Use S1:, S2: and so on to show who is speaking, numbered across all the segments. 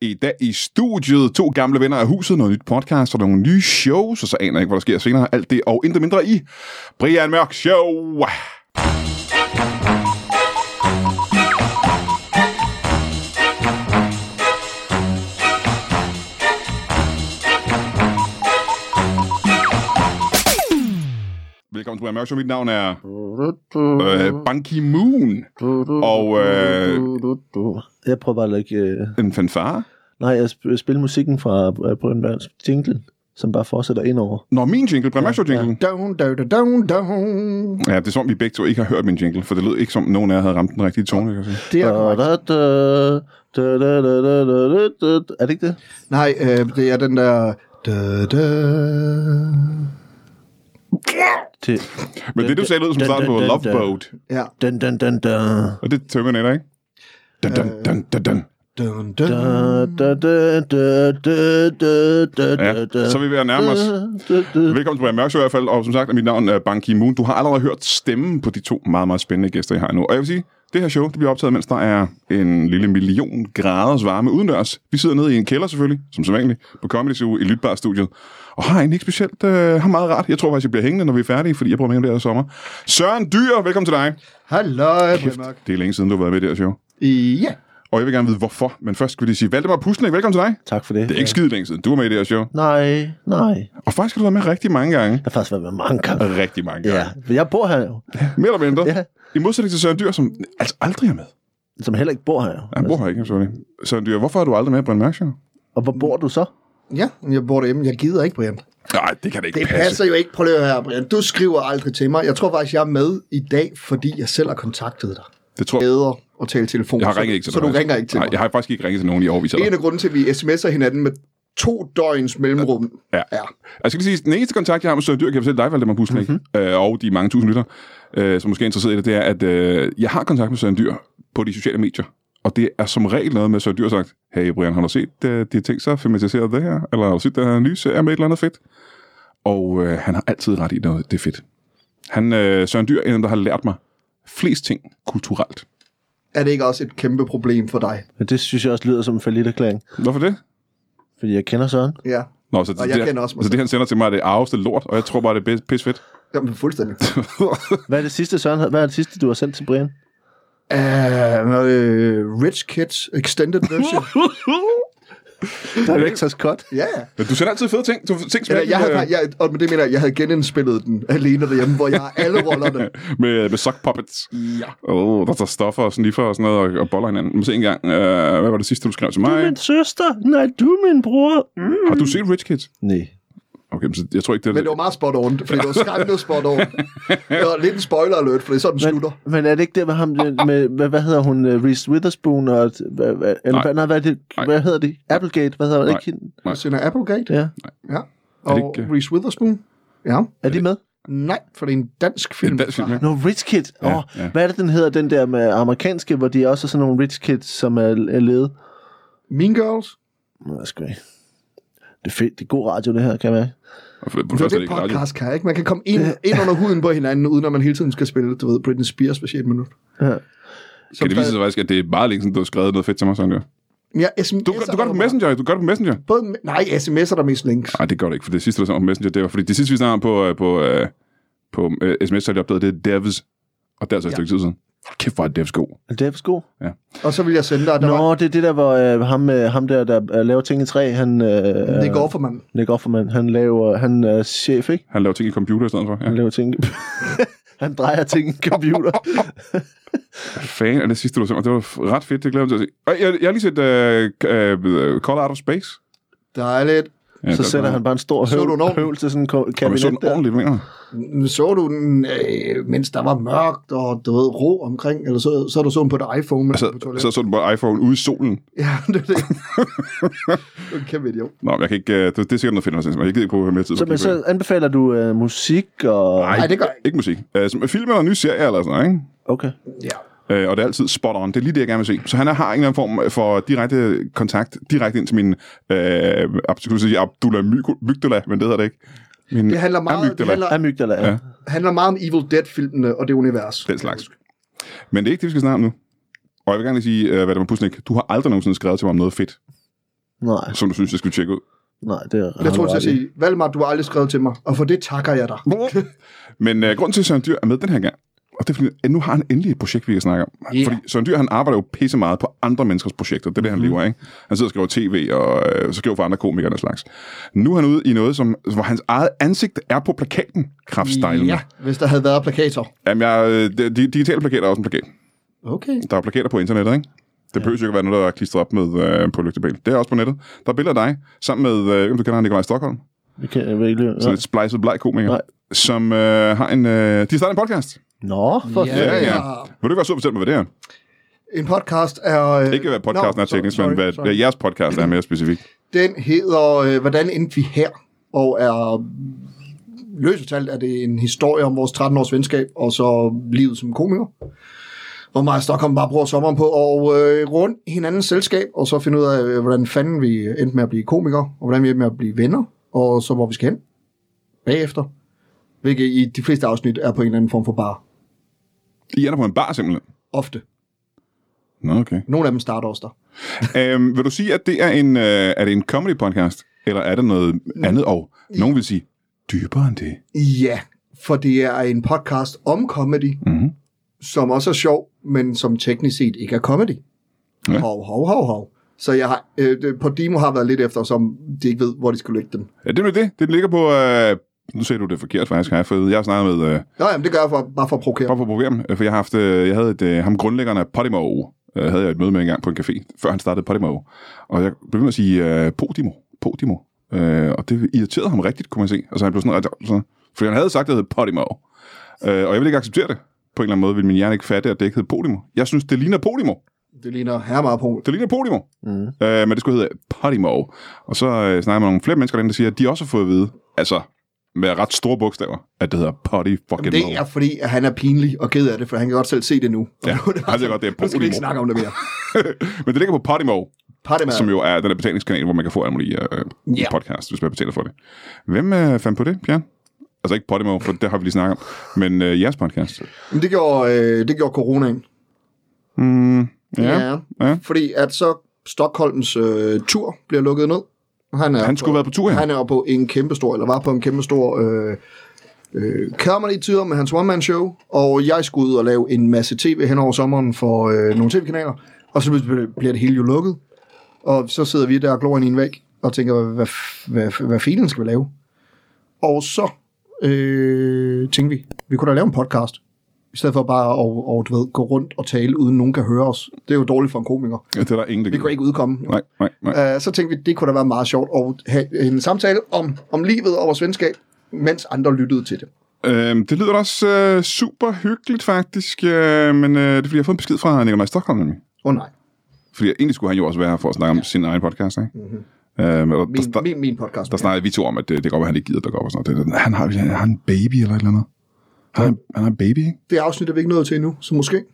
S1: i dag i studiet. To gamle venner af huset, noget nyt podcast og nogle nye shows, og så aner jeg ikke, hvad der sker senere. Alt det og intet mindre i Brian Mørk Show. Velkommen til Brian Mørk Show. Mit navn er øh, Ban Ki-moon. Og, øh,
S2: Jeg prøver bare at lægge... Øh...
S1: En fanfare.
S2: Nej, jeg sp- spiller musikken fra øh, Brian Mørks jingle, som bare fortsætter indover.
S1: Når min jingle, Brian Mørk Show jingle.
S2: Down, down, down, down.
S1: Ja, det er som om, vi begge to ikke har hørt min jingle, for det lød ikke som, nogen af jer havde ramt den rigtige tone. Kan jeg sige.
S3: Det
S2: Da,
S3: er korrekt.
S2: da, da, da, da, da, da, da, da, da. Er det ikke det?
S3: Nej, øh, det er den der... Da, da.
S2: det.
S1: Men det, du sagde, lød som
S2: Den-
S1: starten på
S2: den-
S1: Love
S2: den-
S1: Boat,
S3: Ja.
S2: Dun, dun, dun, dun.
S1: og det tømmer netter, ikke? Dun, dun, dun, dun, dun.
S3: Dun, dun.
S2: Da, da, da, da, da, da, da, da, da.
S1: Ja, så er vi ved at nærme os.
S2: Da, da, da.
S1: Velkommen til Brian Mørk Show i hvert fald, og som sagt er mit navn er Ban Ki-moon. Du har allerede hørt stemmen på de to meget, meget spændende gæster, jeg har nu. Og jeg vil sige, det her show det bliver optaget, mens der er en lille million graders varme udendørs. Vi sidder nede i en kælder selvfølgelig, som som vanligt, på Comedy Zoo i Lytbar Studiet. Og har egentlig ikke specielt, øh, har meget rart. Jeg tror faktisk, jeg bliver hængende, når vi er færdige, fordi jeg prøver med ham der i sommer. Søren Dyr, velkommen til dig.
S3: Halløj, Brian Mørk.
S1: Det er længe siden, du har været med i det her show.
S3: Ja.
S1: Og jeg vil gerne vide, hvorfor. Men først skal vi lige sige, Valdemar Pusnik, velkommen til dig.
S2: Tak for det.
S1: Det er ikke skide længe siden, du var med i det her show.
S2: Nej, nej.
S1: Og faktisk har du været med rigtig mange gange.
S2: Jeg har faktisk været med mange gange.
S1: Rigtig mange gange.
S2: Ja, for jeg bor her jo.
S1: Mere eller mindre.
S2: Ja.
S1: I modsætning til Søren Dyr, som altså aldrig er med.
S2: Som heller ikke bor her jo.
S1: Ja, Han bor her ikke, selvfølgelig. Søren Dyr, hvorfor er du aldrig med i Brian Mørk Show?
S2: Og hvor bor du så?
S3: Ja, men jeg bor derhjemme. Jeg gider ikke, Brian.
S1: Nej, det kan da ikke
S3: Det
S1: det passe.
S3: passer jo ikke. Prøv lige at høre her, Brian. Du skriver aldrig til mig. Jeg tror faktisk, jeg er med i dag, fordi jeg selv har kontaktet dig.
S1: Det tror jeg.
S3: Bedre at tale telefon.
S1: Jeg har ringet ikke til
S3: så, så
S1: dig,
S3: du
S1: faktisk.
S3: ringer ikke til
S1: Nej,
S3: mig.
S1: jeg har faktisk ikke ringet til nogen i årvis.
S3: Det er en
S1: eller-
S3: af grunden til, at vi sms'er hinanden med to døgns mellemrum.
S1: Ja.
S3: ja.
S1: Jeg skal lige sige, den eneste kontakt, jeg har med Søren Dyr, kan jeg fortælle dig, Valdemar Pusnik, mm-hmm.
S3: Mhm.
S1: øh, og de mange tusind lytter, øh, som måske er interesseret i det, det er, at øh, jeg har kontakt med Søren Dyr på de sociale medier. Og det er som regel noget med, at Søren Dyr har sagt, hey Brian, har du set øh, de her ting, så filmatiseret det her? Eller har du set den her nye serie med et eller andet fedt? Og øh, han har altid ret i noget, det er fedt. Han, øh, Søren Dyr er en, af dem, der har lært mig flest ting kulturelt.
S3: Er det ikke også et kæmpe problem for dig?
S2: Men det synes jeg også lyder som en faliderklæring.
S1: Hvorfor det?
S2: Fordi jeg kender Søren.
S3: Ja.
S1: Nå, så det,
S3: Og jeg
S1: det,
S3: kender også mig
S1: så det,
S3: selv.
S1: han sender til mig, er det arveste lort, og jeg tror bare, det er pis fedt.
S3: Jamen, fuldstændig.
S2: Hvad er det sidste, Søren? havde- Hvad er det sidste, du har sendt til Brian?
S3: Uh, Rich Kids Extended Version.
S2: Der er jo ikke så skot.
S3: ja, ja.
S1: Men du sender altid fede ting. Du, ting som
S3: Eller, jeg, havde,
S1: øh,
S3: jeg, og med det mener jeg, jeg havde genindspillet den alene derhjemme, hvor jeg har alle rollerne.
S1: med, med sock puppets. Ja. Oh, der tager stoffer og sniffer og sådan noget, og, og boller hinanden. Må se engang, øh, hvad var det sidste, du skrev til
S2: Du er
S1: mig?
S2: min søster. Nej, du er min bror. Mm.
S1: Har du set Rich Kids?
S2: Nej.
S1: Okay, men så, jeg tror ikke, det er
S3: Men det var meget spot on, fordi det var skræmmende spot on. Det var lidt en spoiler alert, fordi sådan den
S2: Men,
S3: slutter.
S2: men er det ikke det med ham, med, med hvad, hvad hedder hun, øh, Reese Witherspoon, og, hvad, hvad, eller
S1: Nej.
S2: nej. Nej, hvad, er det,
S1: Nej.
S2: hvad hedder det? Applegate, hvad hedder hun?
S1: Nej.
S2: Ikke hende?
S1: Nej.
S3: Christina Applegate,
S2: Ja.
S3: ja.
S1: Er
S3: Og
S1: det ikke-
S3: Reese Witherspoon. Ja.
S2: Er de med?
S3: Nej, for det er en dansk film.
S1: en dansk film, ikke?
S2: No, Rich Kid.
S1: Ja,
S2: Ja, oh,
S1: ja.
S2: ja. Hvad er det, den hedder, den der med amerikanske, hvor de også er sådan nogle rich kids, som er, er ledet?
S3: Mean Girls.
S2: Nå, jeg skal ikke. Det er fedt. Det er god radio, det her, kan jeg mærke.
S1: Og for- for
S3: Det er
S1: første
S3: det,
S1: er ikke radio.
S3: podcast kan, ikke? Man kan komme ind, ind under huden på hinanden, uden at man hele tiden skal spille, du ved, Britney Spears hver 6 minut.
S2: Ja.
S1: Kan det vise sig faktisk, at det er meget længe siden, du har skrevet noget fedt til mig, sådan der?
S3: Ja, sms,
S1: Du, gør- du gør det på Messenger, du gør det på Messenger.
S3: Både, nej, sms'er der er mest links.
S1: Nej, det gør det ikke, for det sidste, du sagde på Messenger, det var, fordi det sidste, vi snakkede om på, øh, på, øh, på øh, sms, så har de opdaget, det er Devs, og der er så et
S3: Ja.
S1: stykke tid siden. Hold Kæft, hvor er Devs god.
S2: Er det sko?
S3: Og så vil jeg sende dig, der
S2: Nå,
S3: var,
S2: det er det der, hvor øh, ham, øh, ham der, der øh, laver ting i træ, han... Øh,
S3: det går for mand.
S2: Nick Offerman, han laver... Han er chef, ikke?
S1: Han laver ting i computer i stedet for. Ja.
S2: Han laver ting... han drejer ting i en computer.
S1: fan af det sidste, du så mig. Det var f- ret fedt, det glæder jeg mig til at se. Og Jeg, jeg har lige set øh, k- øh, Call Out of Space.
S3: Dejligt.
S1: Ja,
S2: Så sætter han bare en stor
S3: Så du en
S2: høvl,
S3: ovn?
S2: høvl til sådan en ko-
S1: Kan vi så den
S2: kabinet der.
S1: ordentligt, mener du?
S3: Så du den, øh, mens der var mørkt og du ved, ro omkring, eller så, så du så den på et iPhone, mens
S1: Så,
S3: altså, på toilettet.
S1: så så den bare iPhone ude i solen.
S3: Ja, det er det. Du er en kæmpe idiot.
S1: Nå, men jeg kan ikke, øh, det, det er sikkert noget fedt, jeg synes. Jeg gider ikke bruge mere tid
S2: Så,
S1: på
S2: men
S1: det.
S2: så anbefaler du øh, musik og...
S3: Nej, det gør jeg ikke.
S1: Ikke musik. Uh, som film eller en ny serie eller sådan noget, ikke?
S2: Okay.
S3: Ja.
S1: Øh, og det er altid spot on. Det er lige det, jeg gerne vil se. Så han har en eller anden form for direkte kontakt, direkte ind til min, øh, ab- skulle jeg sige Abdullah My- Mygdala, men det hedder det ikke. Min
S3: Det handler meget, det
S1: amygdala.
S3: handler,
S2: Amygdala,
S1: Ja.
S2: ja.
S3: handler meget om Evil Dead-filmene og det univers.
S1: Den slags. Men det er ikke det, vi skal snakke om nu. Og jeg vil gerne lige sige, øh, hvad det var, Pusnik. Du har aldrig nogensinde skrevet til mig om noget fedt.
S2: Nej,
S1: som du synes, jeg skulle tjekke ud.
S2: nej, det er
S3: Jeg tror til at sige, Valdemar, du har aldrig skrevet til mig, og for det takker jeg dig.
S1: Men øh, grunden til, at Søren Dyr er med den her gang, og det er fordi, at nu har han endelig et projekt, vi kan snakke om.
S3: Ja. Mhm.
S1: Fordi Søren Dyr, han arbejder jo pisse meget på andre menneskers projekter. Det er det, han lever af. Ikke? Han sidder og skriver tv, og øh, så skriver for andre komikere og den slags. Nu er han ude i noget, som, hvor hans eget ansigt er på plakaten, kraftstejlen.
S3: Ja, hvis der havde været plakater.
S1: Jamen, jeg, øh, de, de, digitale plakater er også en plakat.
S3: Okay.
S1: Der er plakater på internettet, ikke? Det behøver jo ikke være noget, der er klistret op med øh, på lygtepæl. Det er også på nettet. Der er billeder af dig, sammen med, øh, hvem du kender, Nikolaj Stockholm.
S2: Det kan jeg virkelig...
S1: Så lidt splicet bleg komiker.
S2: Nej.
S1: Som øh, har en... Øh, de starter en podcast.
S2: Nå, for
S3: Ja,
S1: Ja, ja.
S3: ja.
S1: Vil du ikke være sur på selv med, hvad det er?
S3: En podcast er... Øh,
S1: Ikke hvad podcasten
S3: nå,
S1: er teknisk,
S3: sorry,
S1: men hvad,
S3: sorry.
S1: hvad jeres podcast er mere specifikt.
S3: Den hedder øh, Hvordan endte vi her? Og er løst talt er det en historie om vores 13-års venskab, og så livet som komiker. Hvor mig og Stockholm bare bruger sommeren på at øh, runde hinandens selskab, og så finde ud af, øh, hvordan fanden vi endte med at blive komikere, og hvordan vi endte med at blive venner, og så hvor vi skal hen bagefter. Hvilket i de fleste afsnit er på en eller anden form for bar.
S1: I er der på en bar, simpelthen.
S3: Ofte.
S1: Nå, okay.
S3: Nogle af dem starter også der.
S1: øhm, vil du sige, at det er en, øh, er det en comedy podcast? Eller er det noget andet? Og nogen vil sige, dybere end det.
S3: Ja, for det er en podcast om comedy,
S1: Mhm.
S3: som også er sjov, men som teknisk set ikke er comedy.
S1: Ja.
S3: Ja. Hov, hov, hov, hov. Så jeg har, øh, det- på Demo har været lidt efter, som de ikke ved, hvor de skulle lægge den.
S1: Ja, det er det. Det ligger på... Øh, nu sagde du det forkert, faktisk, har jeg fået. Jeg har snakket med... Øh,
S3: Nå, jamen, det gør jeg for, bare for at provokere.
S1: bare for at provokere dem, øh, for jeg har haft... Øh, jeg havde et, øh, ham grundlæggeren af Podimo. Øh, havde jeg et møde med en gang på en café, før han startede Podimo. Og jeg blev ved med at sige øh, Podimo. Podimo. Øh, og det irriterede ham rigtigt, kunne man se. Altså, han blev sådan ret... Sådan, fordi han havde sagt, at det hed Podimo. Øh, og jeg ville ikke acceptere det. På en eller anden måde ville min hjerne ikke fatte, at det ikke hed Podimo. Jeg synes, det ligner Podimo.
S3: Det ligner her meget på.
S1: Det ligner Podimo.
S2: Mm.
S1: Øh, men det skulle hedde Podimo. Og så øh, snakker man nogle flere mennesker derinde, der siger, at de også har fået at vide, altså med ret store bogstaver, at det hedder Potty fucking
S3: Jamen, det er fordi, at han er pinlig og ked af det, for han kan godt selv se det nu.
S1: Ja,
S3: Og nu, det
S1: han ved godt, det er
S3: nu skal vi ikke
S1: Podimo.
S3: snakke om det mere.
S1: Men det ligger på Podimo,
S3: Partemad.
S1: som jo er den der betalingskanal, hvor man kan få alle mulige øh,
S3: Ja.
S1: podcast, hvis man betaler for det. Hvem øh, fandt på det, Bjørn? Altså ikke Podimo, for det har vi lige snakket om, men øh, jeres podcast.
S3: Men det gjorde, øh, det gjorde coronaen.
S1: Mm, ja. ja. ja.
S3: Fordi at så Stockholms øh, tur bliver lukket ned. Han, er
S1: Han skulle have været på tur, ja.
S3: Han er jo på en kæmpe stor, eller var på en kæmpe stor øh, øh, comedy-tur med hans one-man-show. Og jeg skulle ud og lave en masse tv hen over sommeren for øh, nogle tv-kanaler. Og så bl- bliver det hele jo lukket. Og så sidder vi der og glor ind i en væg og tænker, hvad, hvad, hvad, hvad filen skal vi lave? Og så øh, tænkte vi, vi kunne da lave en podcast. I stedet for bare at og, du ved, gå rundt og tale, uden nogen kan høre os. Det er jo dårligt for en komiker.
S1: Det er der ingen, der
S3: Vi
S1: gider.
S3: kunne ikke udkomme.
S1: Nej, nej, nej.
S3: Uh, så tænkte vi, det kunne da være meget sjovt at have en samtale om, om livet og vores venskab, mens andre lyttede til det.
S1: Øhm, det lyder da også øh, super hyggeligt, faktisk. Øh, men øh, det er, fordi jeg har fået en besked fra Nikolaj Stockholm, nemlig.
S3: Åh oh, nej,
S1: Fordi egentlig skulle han jo også være her for at snakke om ja. sin egen podcast, ikke? Mm-hmm. Øhm, og der,
S3: Mhm. min,
S1: der,
S3: min, min podcast.
S1: der snakkede vi to om, at øh, det, det går, at han ikke gider dukke op og sådan noget. Det- Han har, han har en baby eller et eller andet. Han, har- han har en baby, ikke?
S3: Det afsnit er vi ikke nået til endnu, så måske.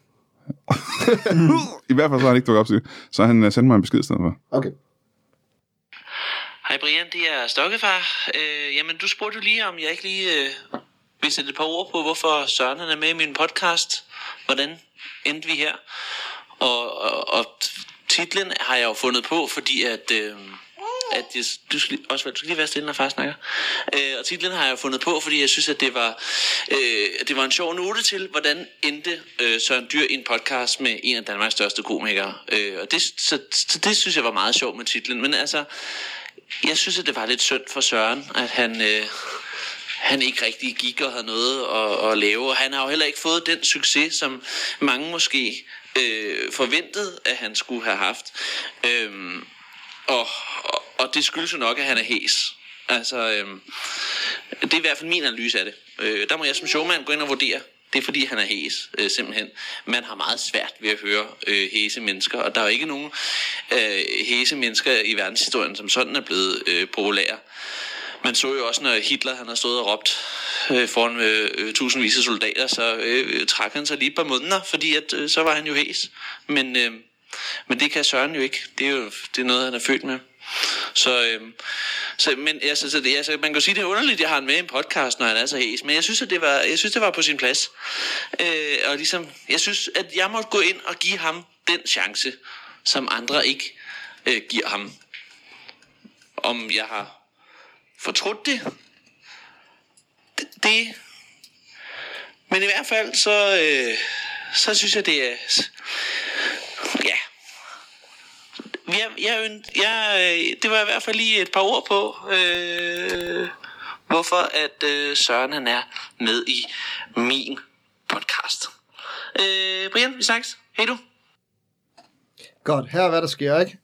S1: I hvert fald så har han ikke dukket op til det. Så han øh, sendte mig en besked i stedet for.
S3: Okay.
S4: Hej Brian, det er Stokkefar. Øh, jamen, du spurgte jo lige, om jeg ikke lige øh, vil sætte et par ord på, hvorfor Søren han er med i min podcast. Hvordan endte vi her? Og, og, og titlen har jeg jo fundet på, fordi at... Øh, at jeg, du, skal, lige- Osvald, du skal lige være stille, når far snakker. Øh, og titlen har jeg jo fundet på, fordi jeg synes, at det var, øh, at det var en sjov note til, hvordan endte øh, Søren Dyr i en podcast med en af Danmarks største komikere. Øh, og det, så, så det synes jeg var meget sjovt med titlen. Men altså, jeg synes, at det var lidt synd for Søren, at han, øh, han ikke rigtig gik og havde noget at, at lave. Og han har jo heller ikke fået den succes, som mange måske øh, forventede, at han skulle have haft. Øhm, og, og, og det skyldes jo nok, at han er hæs. Altså, øhm, det er i hvert fald min analyse af det. Øh, der må jeg som showman gå ind og vurdere. Det er fordi, han er hæs, øh, simpelthen. Man har meget svært ved at høre øh, hæse mennesker, og der er jo ikke nogen øh, hæse mennesker i verdenshistorien, som sådan er blevet øh, populære. Man så jo også, når Hitler han har stået og råbt øh, foran øh, øh, tusindvis af soldater, så øh, øh, trak han sig lige et par måneder, fordi at, øh, så var han jo hæs. Men, øh, men det kan Søren jo ikke. Det er jo det er noget, han er født med. Så, øh, så, men, ja, så, så, det- ja, så man kan jo sige, det er underligt, at jeg har ham med i en podcast, når han er så hæs. Men jeg synes, at det var, jeg synes, det var på sin plads. Øh, og ligesom, jeg synes, at jeg måtte gå ind og give ham den chance, som andre ikke øh, giver ham. om jeg har fortrudt det. D- Det. Men i hvert fald, så, øh, så synes jeg, det er... Ja. Jeg, jeg, øn- jeg, øh, det var i hvert fald lige et par ord på, øh, hvorfor at øh, Søren han er med i min podcast. Øh, Brian, vi snakkes. Hej du.
S3: Godt, her er hvad der sker, ikke?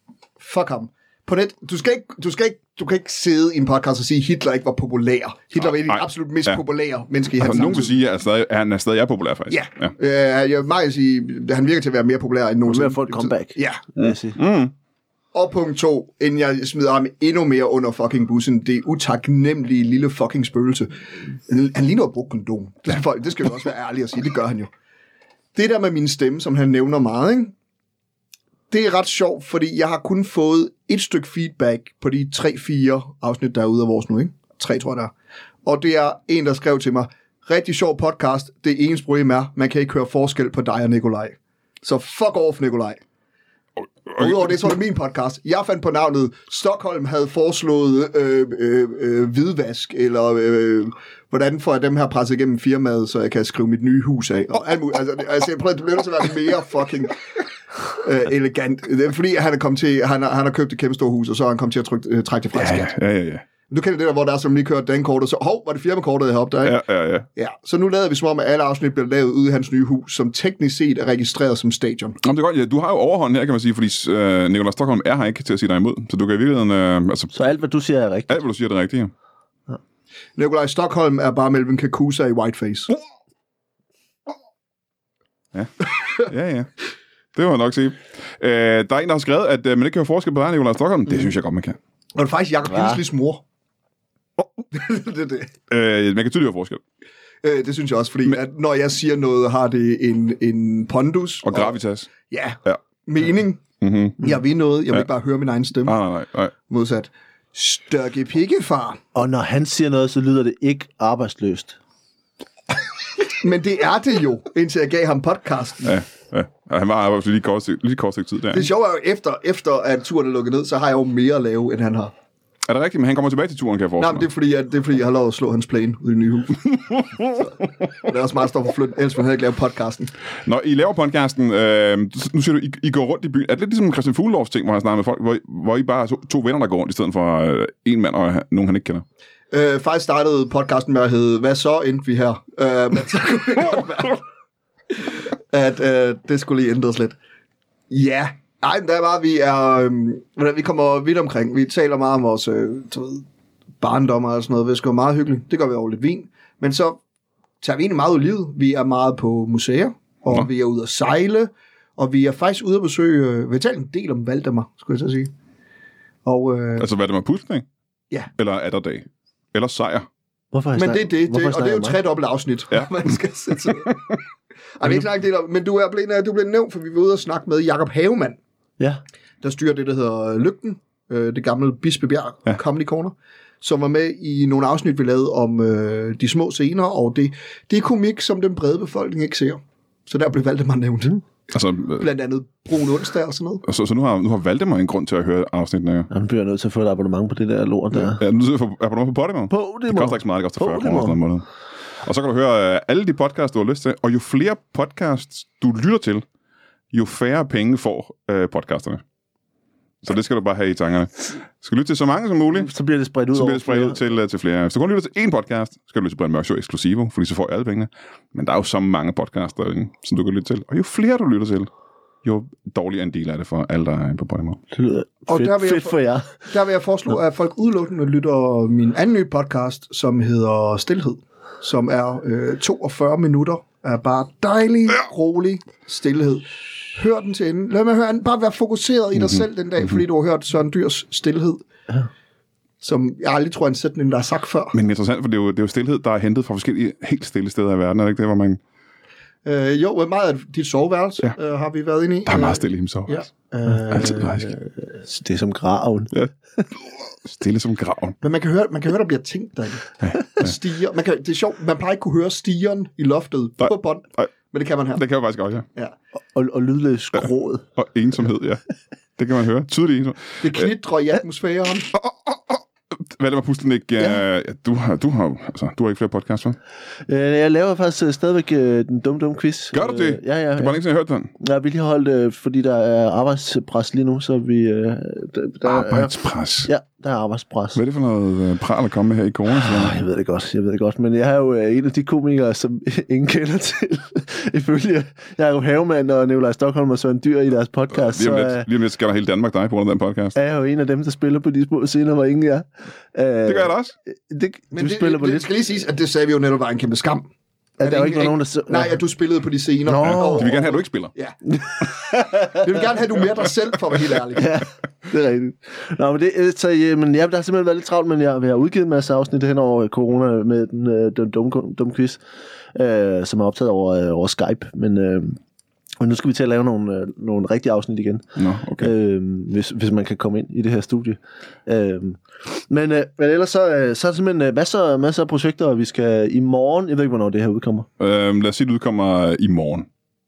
S3: Fuck ham. På net, du, skal ikke, du, skal ikke, du kan ikke sidde i en podcast og sige, at Hitler ikke var populær. Hitler var en af
S1: Nej.
S3: de absolut mest
S1: Ja.
S3: populære mennesker i hans
S1: Altså, nogen
S3: samtid.
S1: vil sige, at han stadig, at han er stadig er populær, faktisk.
S3: Ja, ja. Øh, jeg vil meget sige, at han virker til at være mere populær end nogensinde.
S2: Mere få et comeback.
S3: Ja,
S2: vil jeg sige.
S1: Mm.
S3: og punkt to, inden jeg smider ham endnu mere under fucking bussen, det utaknemmelige lille fucking spøgelse. Han ligner jo brugt kondom. Det skal, folk, det skal vi også være ærlige at sige, det gør han jo. Det der med min stemme, som han nævner meget, ikke? det er ret sjovt, fordi jeg har kun fået et stykke feedback på de 3-4 afsnit, der er ude af vores nu. Ikke? 3 tror jeg, der er. Og det er en, der skrev til mig, rigtig sjov podcast, det eneste problem er, man kan ikke høre forskel på dig og Nikolaj. Så fuck off, Nikolaj. Og udover det, så var det min podcast. Jeg fandt på navnet, Stockholm havde foreslået øh, øh, øh, hvidvask, eller øh, hvordan får jeg dem her presset igennem firmaet, så jeg kan skrive mit nye hus af. Og alt muligt. Altså, det- altså jeg prøver, det bliver nødt til at være mere fucking øh, elegant. Det er fordi, han er, kommet til, han, har, han har købt et kæmpe stort hus, og så er han kommet til at trykke, øh, trække det fra
S1: Ja,
S3: skat.
S1: ja, ja, ja, ja.
S3: Du kender det der, hvor der er, som lige kører dankortet, så hov, var det firmakortet, jeg havde opdaget?
S1: ja, ja, ja.
S3: ja. Så nu lader vi som om, at alle afsnit bliver lavet ude i hans nye hus, som teknisk set er registreret som stadion.
S1: Nå, men det er godt. Ja, du har jo overhånden her, kan man sige, fordi øh, Nikolaj Stockholm er her ikke til at sige dig imod. Så du kan i virkeligheden... Øh, altså,
S2: Så alt, hvad du siger, er rigtigt.
S1: alt, hvad du siger, er det rigtige. Ja.
S3: Nikolaj Stockholm er bare Melvin Kakusa i Whiteface.
S1: Ja, ja. Det må jeg nok sige. Øh, der er en, der har skrevet, at øh, man ikke kan høre forskel på dig og Nikolaj Stockholm. Det synes jeg godt, man kan.
S3: Og det er faktisk Jacob
S2: Hva?
S3: Henslis mor. det, er det.
S1: Øh, man kan tydeligt høre forskel.
S3: Øh, det synes jeg også, fordi Men... at når jeg siger noget, har det en, en pondus.
S1: Og gravitas.
S3: Ja,
S1: Ja.
S3: mening.
S1: Mm-hmm.
S3: Jeg vil noget. Jeg vil ikke bare høre min egen stemme.
S1: Nej, nej, nej, nej.
S3: Modsat. Størke pikkefar.
S2: Og når han siger noget, så lyder det ikke arbejdsløst.
S3: Men det er det jo, indtil jeg gav ham podcasten.
S1: Ja, ja. ja han var her absolut lige kort, lige kort stykke tid der.
S3: Det
S1: ikke?
S3: sjove er jo, efter, efter at turen er lukket ned, så har jeg jo mere at lave, end han har.
S1: Er det rigtigt? Men han kommer tilbage til turen, kan jeg
S3: Nej,
S1: forestille mig.
S3: men det er fordi, at, det er fordi jeg har lov at slå hans plan ud i det nye hus. så, og det er også meget stort for flytte, ellers ville han ikke lave podcasten.
S1: Når I laver podcasten, øh, nu siger du, I, I går rundt i byen. Er det lidt ligesom Christian Fuglendorfs ting, hvor han snakker med folk, hvor, I- hvor I bare er to, to venner, der går rundt, i stedet for øh, en mand og han- nogen, han ikke kender?
S3: Øh, faktisk startede podcasten med at hedde, hvad så endte vi her? Øh, men så kunne det godt være, at øh, det skulle lige ændres lidt. Ja, nej, men der var vi er, øhm, hvordan vi kommer vidt omkring. Vi taler meget om vores øh, du ved, barndom og sådan noget. Det er sgu meget hyggeligt. Det gør vi over lidt vin. Men så tager vi egentlig meget ud i livet. Vi er meget på museer, og
S1: Nå.
S3: vi er ude at sejle, og vi er faktisk ude at besøge, øh, vi har talt en del om Valdemar, skulle jeg så sige. Og, øh,
S1: Altså, hvad er det med Pusling?
S3: Ja.
S1: Eller er der dag? Eller sejr?
S2: Hvorfor har jeg
S3: Men det
S2: snakket-
S3: er det,
S2: hvorfor har jeg
S3: det og det er
S2: snakket
S3: jo
S2: om mig?
S3: tre dobbelt afsnit, ja.
S1: Ja.
S3: man skal sætte sig ned. Ej, vi er ikke snakket det om, men du er blevet, du blev nævnt, for vi var ude og snakke med Jakob Havemand,
S2: Ja,
S3: der styrer det, der hedder øh, Lygten, øh, det gamle Bispebjerg ja. Comedy Corner, som var med i nogle afsnit, vi lavede om øh, de små scener, og det, det er komik, som den brede befolkning ikke ser. Så der blev Valdemar nævnt.
S2: Mm.
S1: Altså, øh,
S3: Blandt andet Brun Onsdag og sådan noget.
S1: så, så nu har, nu har Valdemar en grund til at høre afsnittene. Ja.
S2: han bliver jeg nødt til at få et abonnement på det der lort der.
S1: Ja, nu sidder jeg på abonnement på Podimo. Det koster ikke så meget, det koster 40 kroner
S2: Podimo.
S1: sådan noget om måneden. Og så kan du høre øh, alle de podcasts, du har lyst til, og jo flere podcasts, du lytter til, jo færre penge får øh, podcasterne. Så det skal du bare have i tankerne. Skal du lytte til så mange som muligt,
S2: Så bliver det spredt ud
S1: så bliver
S2: over
S1: det spredt ud
S2: flere.
S1: til, øh, til flere. Hvis du kun lytter til én podcast, skal du lytte til Brian Mørk Show Exclusivo, fordi så får jeg alle pengene. Men der er jo så mange podcasts derinde, som du kan lytte til. Og jo flere du lytter til, jo dårligere en del er det for alle, der er inde på Podimo.
S2: Det lyder
S3: Og der vil
S2: fedt,
S3: jeg
S2: fedt
S3: få-
S2: for jer.
S3: Der vil jeg foreslå, at folk udelukkende lytter min anden nye podcast, som hedder Stilhed, som er øh, 42 minutter af bare dejlig, rolig stillhed. Hør den til enden. Lad mig høre den. Bare være fokuseret
S1: Mhm.
S3: i dig selv den dag, fordi du har hørt Søren Dyrs Stilhed, som jeg aldrig tror er en sætning, der er sagt før.
S1: Men interessant, for det er jo, det er jo stillhed, der er hentet fra forskellige helt stille steder i verden. Er det ikke det, hvor man...
S3: Øh, jo, øh, meget af dit soveværelse ja.
S1: Ja.
S3: øh, har vi været inde i.
S1: Der er meget stille i himself.
S3: Ja.
S1: Altid faktisk.
S2: Det er som graven.
S1: Stille som graven.
S3: Men man kan høre, man kan høre der bliver tænkt derinde. Og stiger. Man kan, det er sjovt, man plejer ikke kunne høre stigeren i loftet
S1: Nej.
S3: på bånd,
S1: Nej.
S3: men det kan man her.
S1: Det kan jeg faktisk godt, ja.
S3: Ja.
S2: Og, og lydløs skråd.
S1: Og ensomhed, ja. Det kan man høre. Tydelig ensomhed.
S2: Øh,
S3: Det knitrer i atmosfæren.
S1: Åh, åh, åh, Valdemar Pustenik, ja. du, har, du, har, altså, du har ikke flere podcasts, hva'?
S2: Øh, jeg laver faktisk øh, stadigvæk øh, den dumme, dumme quiz.
S1: Gør du det?
S2: Øh, ja, ja.
S1: Det var
S2: ja.
S1: længe siden, jeg hørte den.
S2: ja, vi lige har holdt, øh, fordi der er arbejdspres lige nu, så vi... Øh, der, der, er,
S1: Arbejdspres.
S2: ja, der er arbejdspres.
S1: Hvad er det for noget øh, pral at komme med her i corona?
S2: Oh, jeg ved det godt, jeg ved det godt, men jeg er jo øh, en af de komikere, som ingen kender til. Ifølge Jacob Havemann og Nikolaj Stockholm og Søren Dyr i deres podcast,
S1: Lige
S2: så
S1: om
S2: øh,
S1: lidt, lige om lidt skal der hele Danmark dig på grund af den podcast.
S2: er jeg jo en af dem, der spiller på de små scener, hvor ingen er. Øh,
S1: Det gør jeg da også.
S2: Det,
S3: Men
S2: du
S3: det,
S2: spiller
S3: det,
S2: på
S3: det,
S2: lidt.
S3: skal lige siges, at det sagde vi jo netop var en kæmpe skam.
S2: At der jo ikke var
S3: ingen-
S2: nogen, der... så-
S3: Nej, at du spillede på de scener.
S2: Nå.
S3: Og-
S1: De vil gerne have, at du ikke spiller.
S3: Ja. Vi vil gerne have, at du er mere dig selv, for at være helt ærlig.
S2: Ja, det er rigtigt. Nå, men det, øh, så, øh, men ja, der har simpelthen været lidt travlt, men jeg, jeg har udgivet en masse afsnit hen over øh, corona med den, øh, den dumme, dumme quiz, øh, som er optaget over, øh, over Skype. Men, øh, og nu skal vi til at lave nogle, øh, nogle rigtige afsnit igen,
S1: Nå, okay.
S2: øh, hvis, hvis man kan komme ind i det her studie. Øh, men, øh, men ellers så, øh, så er der simpelthen øh, masser, masser af projekter, og vi skal i morgen, jeg ved ikke, hvornår det her udkommer.
S1: Øhm, lad os sige, at det udkommer i morgen.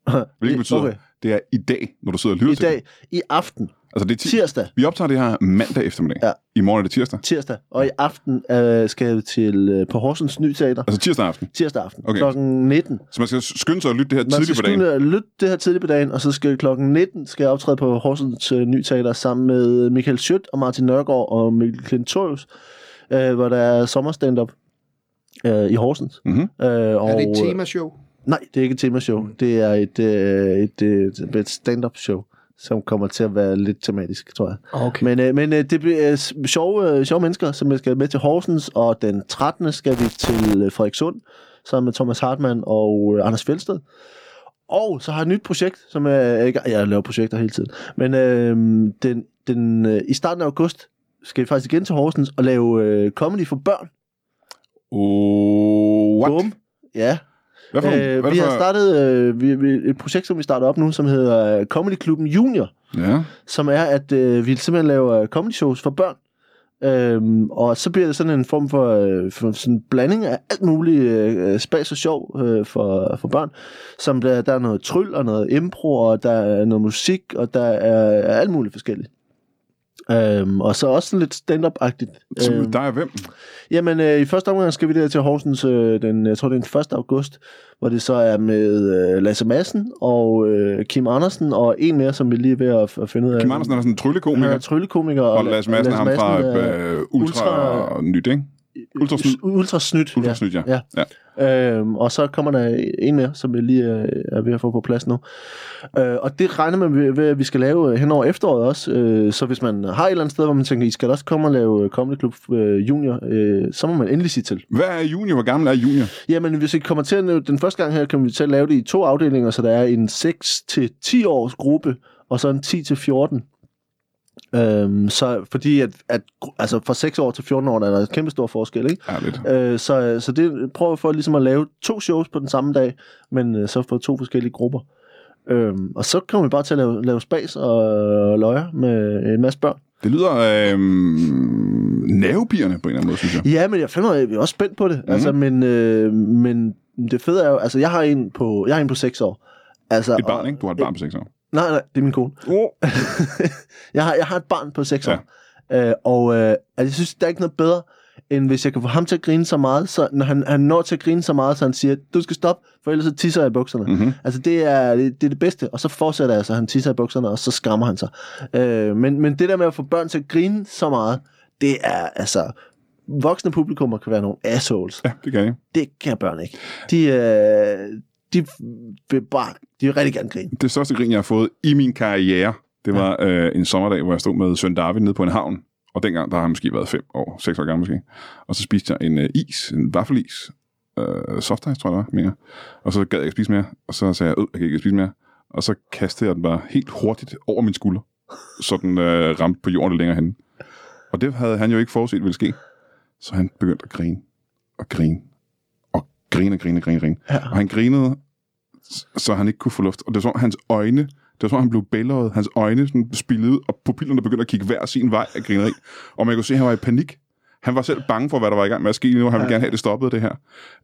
S1: Hvilket betyder,
S2: Okay.
S1: okay. det er i dag, når du sidder og lytter
S2: I
S1: til det.
S2: dag, i aften,
S1: Altså, det er ti-
S2: tirsdag,
S1: Vi optager det her mandag eftermiddag.
S2: Ja.
S1: I morgen er det tirsdag.
S2: tirsdag, og i aften øh, skal jeg til øh, på Horsens Ny Teater.
S1: Altså tirsdag aften.
S2: tirsdag aften
S1: Okay.
S2: okay. klokken 19.
S1: Så man skal skynde sig at lytte det her
S2: Man skal
S1: tidligt på dagen.
S2: skynde at lytte det her tidligt på dagen, og så skal klokken 19 skal jeg optræde på Horsens øh, Ny Teater sammen med øh, Michael Schødt og Martin Nørgaard og Mikkel Klintorius, øh, hvor der er sommerstand-up øh, i Horsens.
S1: Mhm.
S2: Øh, og,
S3: Er det et
S2: øh,
S3: temashow?
S2: Nej, det er ikke et temashow. Mm. Det er et, øh, et, et, et stand-up-show, som kommer til at være lidt tematisk, tror jeg.
S3: Okay.
S2: Men, øh, men øh, det bliver øh, s- sjove, øh, sjove mennesker, som jeg skal med til Horsens, og den 13. skal vi til øh, Frederikssund, sammen med Thomas Hartmann og øh, Anders Fjeldsted. Og så har jeg et nyt projekt, som er... Jeg, jeg laver projekter hele tiden. Men øh, den, den, øh, i starten af august skal vi faktisk igen til Horsens og lave øh, comedy for børn.
S1: Oh, what?
S2: Bum. Ja,
S1: Hvad for, øh,
S2: øh,
S1: hvad
S2: vi
S1: for,
S2: har startet øh, vi, vi, et projekt, som vi starter op nu, som hedder øh, Comedy Klubben Junior.
S1: Ja.
S2: som er, at øh, vi simpelthen laver øh, comedy shows for børn. Øhm, og så bliver det sådan en form for, øh, for sådan en blanding af alt muligt øh, spas og sjov øh, for, for børn. Som der, der er noget tryl og noget impro, og der er noget musik, og der er, er alt muligt forskelligt. Øhm, og så også sådan lidt stand-up-agtigt.
S1: Så
S2: Øhm,
S1: dig og hvem?
S2: Jamen, øh, i første omgang skal vi der til Horsens, øh, den, jeg tror det er den 1. august, hvor det så er med øh, Lasse Madsen og øh, Kim Andersen, og en mere, som vi lige er ved at, f- at finde ud af.
S1: Kim Andersen er sådan en
S2: øh, Han er
S1: tryllekomiker,
S2: tryllekomiker.
S1: og Lars Madsen er ham fra
S2: er
S1: øh, Ultra,
S2: Ultra- Øh,
S1: Nyt, ikke? Ultra Snyt.
S2: Ultra Snyt.
S1: Ultra Snyt, ja.
S2: ja.
S1: ja.
S2: Øhm, og så kommer der en mere, som jeg lige øh, er ved at få på plads nu. Øh, og det regner man ved, ved, at vi skal lave øh, hen over efteråret også. Øh, så hvis man har et eller andet sted, hvor man tænker, I skal da også komme og lave øh, Comedy Club øh, Junior, øh, så må man endelig sige til.
S1: Hvad er Junior? Hvor gammel er Junior?
S2: Jamen, hvis vi kommer til at nå- den første gang her, kan vi til at lave det i to afdelinger, så der er en 6-10 års gruppe, og så en 10-14. Øhm, så fordi at, at gru- altså fra 6 år til 14 år, der er der en kæmpe stor forskel, ikke?
S1: Ærligt.
S2: Øh, så, så det prøver vi for ligesom at lave to shows på den samme dag, men øh, så for to forskellige grupper. Øhm, og så kommer vi bare til at lave, lave spas og løjer med en masse børn.
S1: Det lyder øh, nervepirrende på en eller anden måde, synes jeg.
S2: Ja, men jeg finder, jeg er også spændt på det. Mm.
S1: Mhm.
S2: Altså, men, øh, men det fede er jo, altså jeg har en på, jeg har en på 6 år. Altså,
S1: Et barn,
S2: og-
S1: ikke? Du har et barn på 6 år.
S2: Nej, nej, det er min kone.
S1: Oh.
S2: jeg, har, jeg har et barn på 6 år. Øh, og øh, altså, jeg synes, der er ikke noget bedre, end hvis jeg kan få ham til at grine så meget, så når han, han når til at grine så meget, så han siger, du skal stoppe, for ellers så tisser jeg i bukserne.
S1: Mm-hmm.
S2: Altså, det er, det, det er det bedste. Og så fortsætter jeg, så han tisser i bukserne, og så skammer han sig. Øh, men, men det der med at få børn til at grine så meget, det er altså... Voksne publikummer kan være nogle assholes.
S1: Ja, det kan jeg.
S2: Det kan børn ikke. De, øh, de vil bare... De vil rigtig gerne grine.
S1: det største grin, jeg har fået i min karriere, det var ja. øh, en sommerdag, hvor jeg stod med søn David nede på en havn. Og dengang, der har han måske været 5 år, 6 år gammel måske. Og så spiste jeg en øh, is, en vaffelis. Øh, softice, tror jeg det var, mener jeg. Og så gad jeg ikke spise mere. Og så sagde jeg, øh, jeg kan ikke spise mere. Og så kastede jeg den bare helt hurtigt over min skulder. Så den øh, ramte på jorden lidt længere henne. Og det havde han jo ikke forudset ville ske. Så han begyndte at grine. Og grine. Og grine, og grine, og grine, og grine.
S2: Ja.
S1: Og han grinede, s- så han ikke kunne få luft. Og det var som om hans øjne, det var som om han blev bælget, hans øjne sådan spillede ud, og pupillerne begyndte at kigge hver sin vej af grineri. Og man kunne se, at han var i panik. Han var selv bange for, hvad der var i gang med at ske lige nu. Han ville gerne have det stoppet, det her.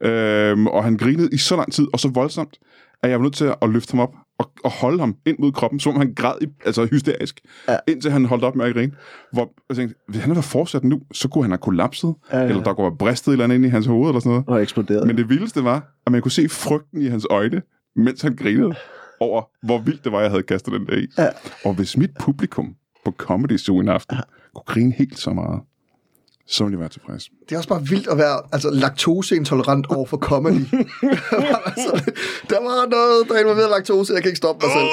S1: Øhm, og han grinede i så lang tid, og så voldsomt, at jeg var nødt til at løfte ham op og og, og holde ham ind mod kroppen, som om han græd i, altså hysterisk,
S2: Ja.
S1: ja. indtil han holdt op med at grine. Hvor jeg tænkte, hvis han var fortsat nu, så kunne han have kollapset,
S2: Ja, ja.
S1: ja. eller der kunne have bristet et eller andet ind i hans hoved, eller sådan noget.
S2: Og eksploderet.
S1: Men det vildeste var, at man kunne se frygten i hans øjne, mens han grinede over, hvor vildt det var, jeg havde kastet den der i.
S2: Ja.
S1: Og hvis mit publikum på Comedy Zoo en aften kunne grine helt så meget, så ville jeg være tilfreds.
S3: Det er også bare vildt at være altså, laktoseintolerant over for comedy. altså, der var noget, der involverede laktose, jeg kan ikke stoppe mig selv.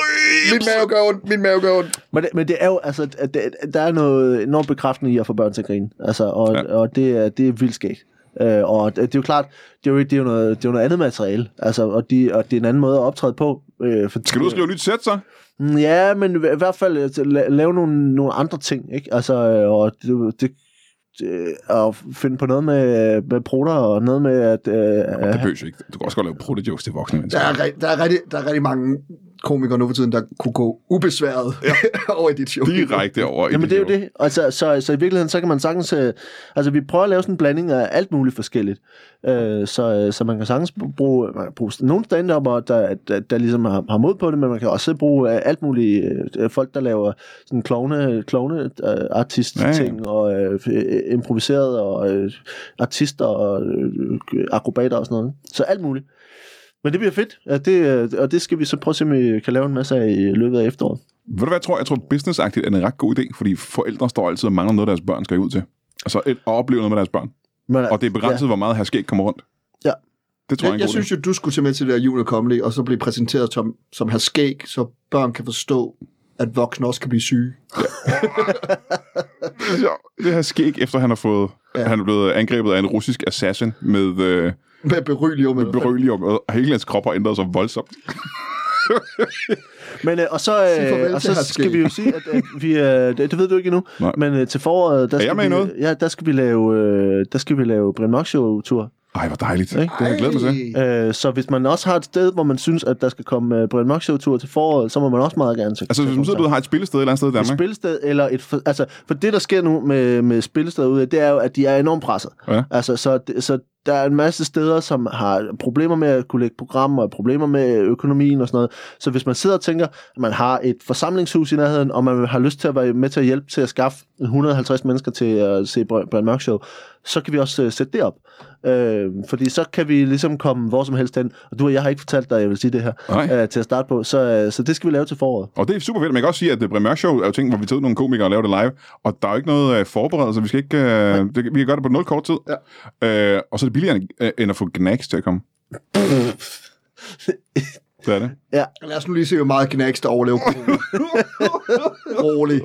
S3: Min mave gør ondt, min mave gør ondt.
S2: Men det, men det er jo, altså, at det, der er noget enormt bekræftende i at få børn til at grine. Altså, og, ja.
S1: Ja.
S2: og det, er, det er vildt skægt. Øh, og det, det er jo klart, det er jo, det er jo, noget, det er jo noget andet materiale, altså, og, de, og det er en anden måde at optræde på. Øh, for,
S1: Skal du ud og skrive et nyt sæt, så?
S2: Mm, Ja, men i hver- i hvert fald øh, til at la- lave nogle, nogle andre ting, ikke? Altså, øh, og det, det, det- og finde på noget med, med proter og noget med, at... Øh,
S1: Det
S2: øh,
S1: behøver ikke. Du kan også godt lave proto-jokes til voksne mennesker.
S3: Der er, ri- der, er rigtig, der er rigtig mange komikere nu for tiden, der kunne gå ubesværet ja. over i dit show.
S1: Direkte over i
S2: Jamen det er jo
S1: joke.
S2: det. Altså, så, så i virkeligheden, så kan man sagtens... Øh, altså, vi prøver at lave sådan en blanding af alt muligt forskelligt. Øh, så, øh, så man kan sagtens bruge, man kan bruge nogle stand der, der, der ligesom har, har mod på det, men man kan også bruge øh, alt muligt øh, folk, der laver sådan klovne, klovne øh, artist-ting, ja, ja. og øh, øh, improviseret, og øh, artister, og øh, øh, akrobater og sådan noget. Så alt muligt. Men det bliver fedt, ja, det, øh, og det skal vi så prøve at se, om vi kan lave en masse af i løbet af efteråret.
S1: Ved du hvad, jeg tror? Jeg tror, businessagtigt er en ret god idé, fordi forældre står altid og mangler noget, deres børn skal ud til. Altså et, og opleve noget med deres børn.
S2: Men,
S1: Og det er begrænset, ja. hvor meget her skæg kommer rundt.
S2: Ja.
S1: Det tror jeg, er
S3: Jeg, jeg
S1: en god idé.
S3: synes jo, du skulle til med til det der jul og comedy, og så blive præsenteret som, som har skæg, så børn kan forstå, at voksne også kan blive syge.
S1: Ja, det her skæg, efter han har fået...
S3: Ja.
S1: Ja. Han er blevet angrebet af en russisk assassin med øh,
S3: Med beryllium. Med
S1: beryllium, og hele hans krop har ændret sig voldsomt.
S2: Men, øh, og så,
S3: Sig
S2: øh,
S3: farvel
S2: og
S3: til
S2: så
S3: hr.
S2: skal
S3: Skæg.
S2: vi jo sige, at, at vi, øh, det, det ved du ikke endnu,
S1: Nej.
S2: men øh, til foråret, der
S1: jeg
S2: skal,
S1: med i
S2: vi,
S1: noget?
S2: ja, der skal vi lave, øh, der skal vi lave Brian Mørk Show-tur.
S1: Ej, hvor dejligt.
S2: Ikke?
S1: Det har jeg glædet mig til.
S2: Øh, så hvis man også har et sted, hvor man synes, at der skal komme øh, Brian Mørk Show-tur til foråret, så må man også meget gerne til.
S1: Altså,
S2: til
S1: hvis man
S2: koncert.
S1: sidder du har et spillested et eller andet sted i
S2: et
S1: Danmark.
S2: spillested eller et... For, altså, for det, der sker nu med, med spillesteder ude, det er jo, at de er enormt presset.
S1: Ja.
S2: Altså, så, det- så der er en masse steder, som har problemer med at kunne lægge programmer, og problemer med økonomien og sådan noget. Så hvis man sidder og tænker, at man har et forsamlingshus i nærheden, og man har lyst til at være med til at hjælpe til at skaffe 150 mennesker til at se Br- Brian Mørk Show, så kan vi også øh, sætte det op. Øh, fordi så kan vi ligesom komme hvor som helst hen. Og du og jeg har ikke fortalt dig, at jeg vil sige det her
S1: Nej.
S2: øh, til at starte på. Så, øh, så det skal vi lave til foråret.
S1: Og det er super fedt. Man kan også sige, at øh, Brian Mørk Show er jo ting, hvor vi tager ud nogle komikere og laver det live. Og der er jo ikke noget øh, forberedelse. Vi, skal ikke, øh, det, vi kan gøre det på nul kort tid. Ja. Øh, og så er det billigere end, øh, end at få Gnags til at komme. det er det.
S3: Lad os nu lige se, hvor meget knæks, der overlever. Rolig.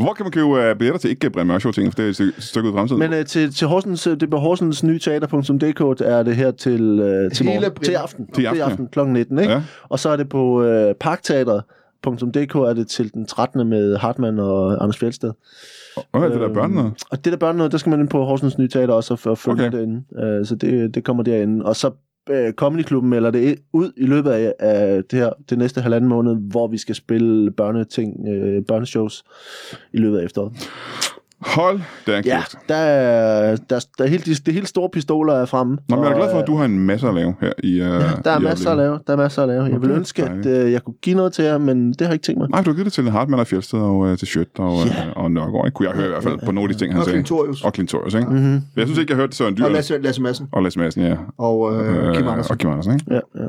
S1: Hvor kan man købe øh, billetter til ikke øh, Brian Mørk Show ting? For det er et stykke, et stykke ud i fremtiden.
S2: Men øh, til, til Horsens, øh, det er på Horsens nye teater.dk er det her til, øh, til,
S3: Hele
S2: morgen,
S3: april.
S2: til aften.
S1: Til aften, ja.
S2: kl. 19, ikke? Ja.
S1: Ja.
S2: Og så er det på øh, parkteateret.dk er det til den 13. med Hartmann og Anders Fjeldsted.
S1: Hvad er det der
S2: Øhm,
S1: børn noget?
S2: Og det der børn noget, der skal man ind på Horsens Nye Teater også og f- og følge okay.
S1: Okay.
S2: derinde. Øh, så det, det kommer derinde. Og så øh, Comedy Klubben melder det i- ud i løbet af, af det her det næste halvanden måned, hvor vi skal spille børneting, øh, børneshows i løbet af efteråret.
S1: Hold da
S2: Ja,
S1: kæft.
S2: der er, der, der er helt, de, de helt store pistoler er fremme.
S1: Nå, men jeg er da glad for,
S2: Og,
S1: at du har en masse at lave her i... Øh,
S2: øh, Der er masser at lave, der er masser at lave. Jeg
S1: Nå,
S2: ville
S1: det er
S2: ønske, at
S1: dejligt.
S2: øh, jeg kunne give noget til jer, men det har jeg ikke tænkt mig.
S1: Nej, for du har givet det til Hartmann og Fjeldsted og øh, til Schødt og,
S2: Ja.
S1: yeah. og Nørgaard, ikke? kunne jeg høre i hvert fald på nogle af de ting, han
S3: Og
S1: sagde.
S3: Klintorius.
S1: Og Klintorius, ikke? Mm-hmm. Jeg synes ikke, jeg hørte Søren Dyr
S3: Og Lasse, Lasse Madsen.
S1: og Lasse Madsen, ja.
S3: Og øh, Kim Andersen.
S1: og Kim Andersen, ikke?
S2: Ja, ja.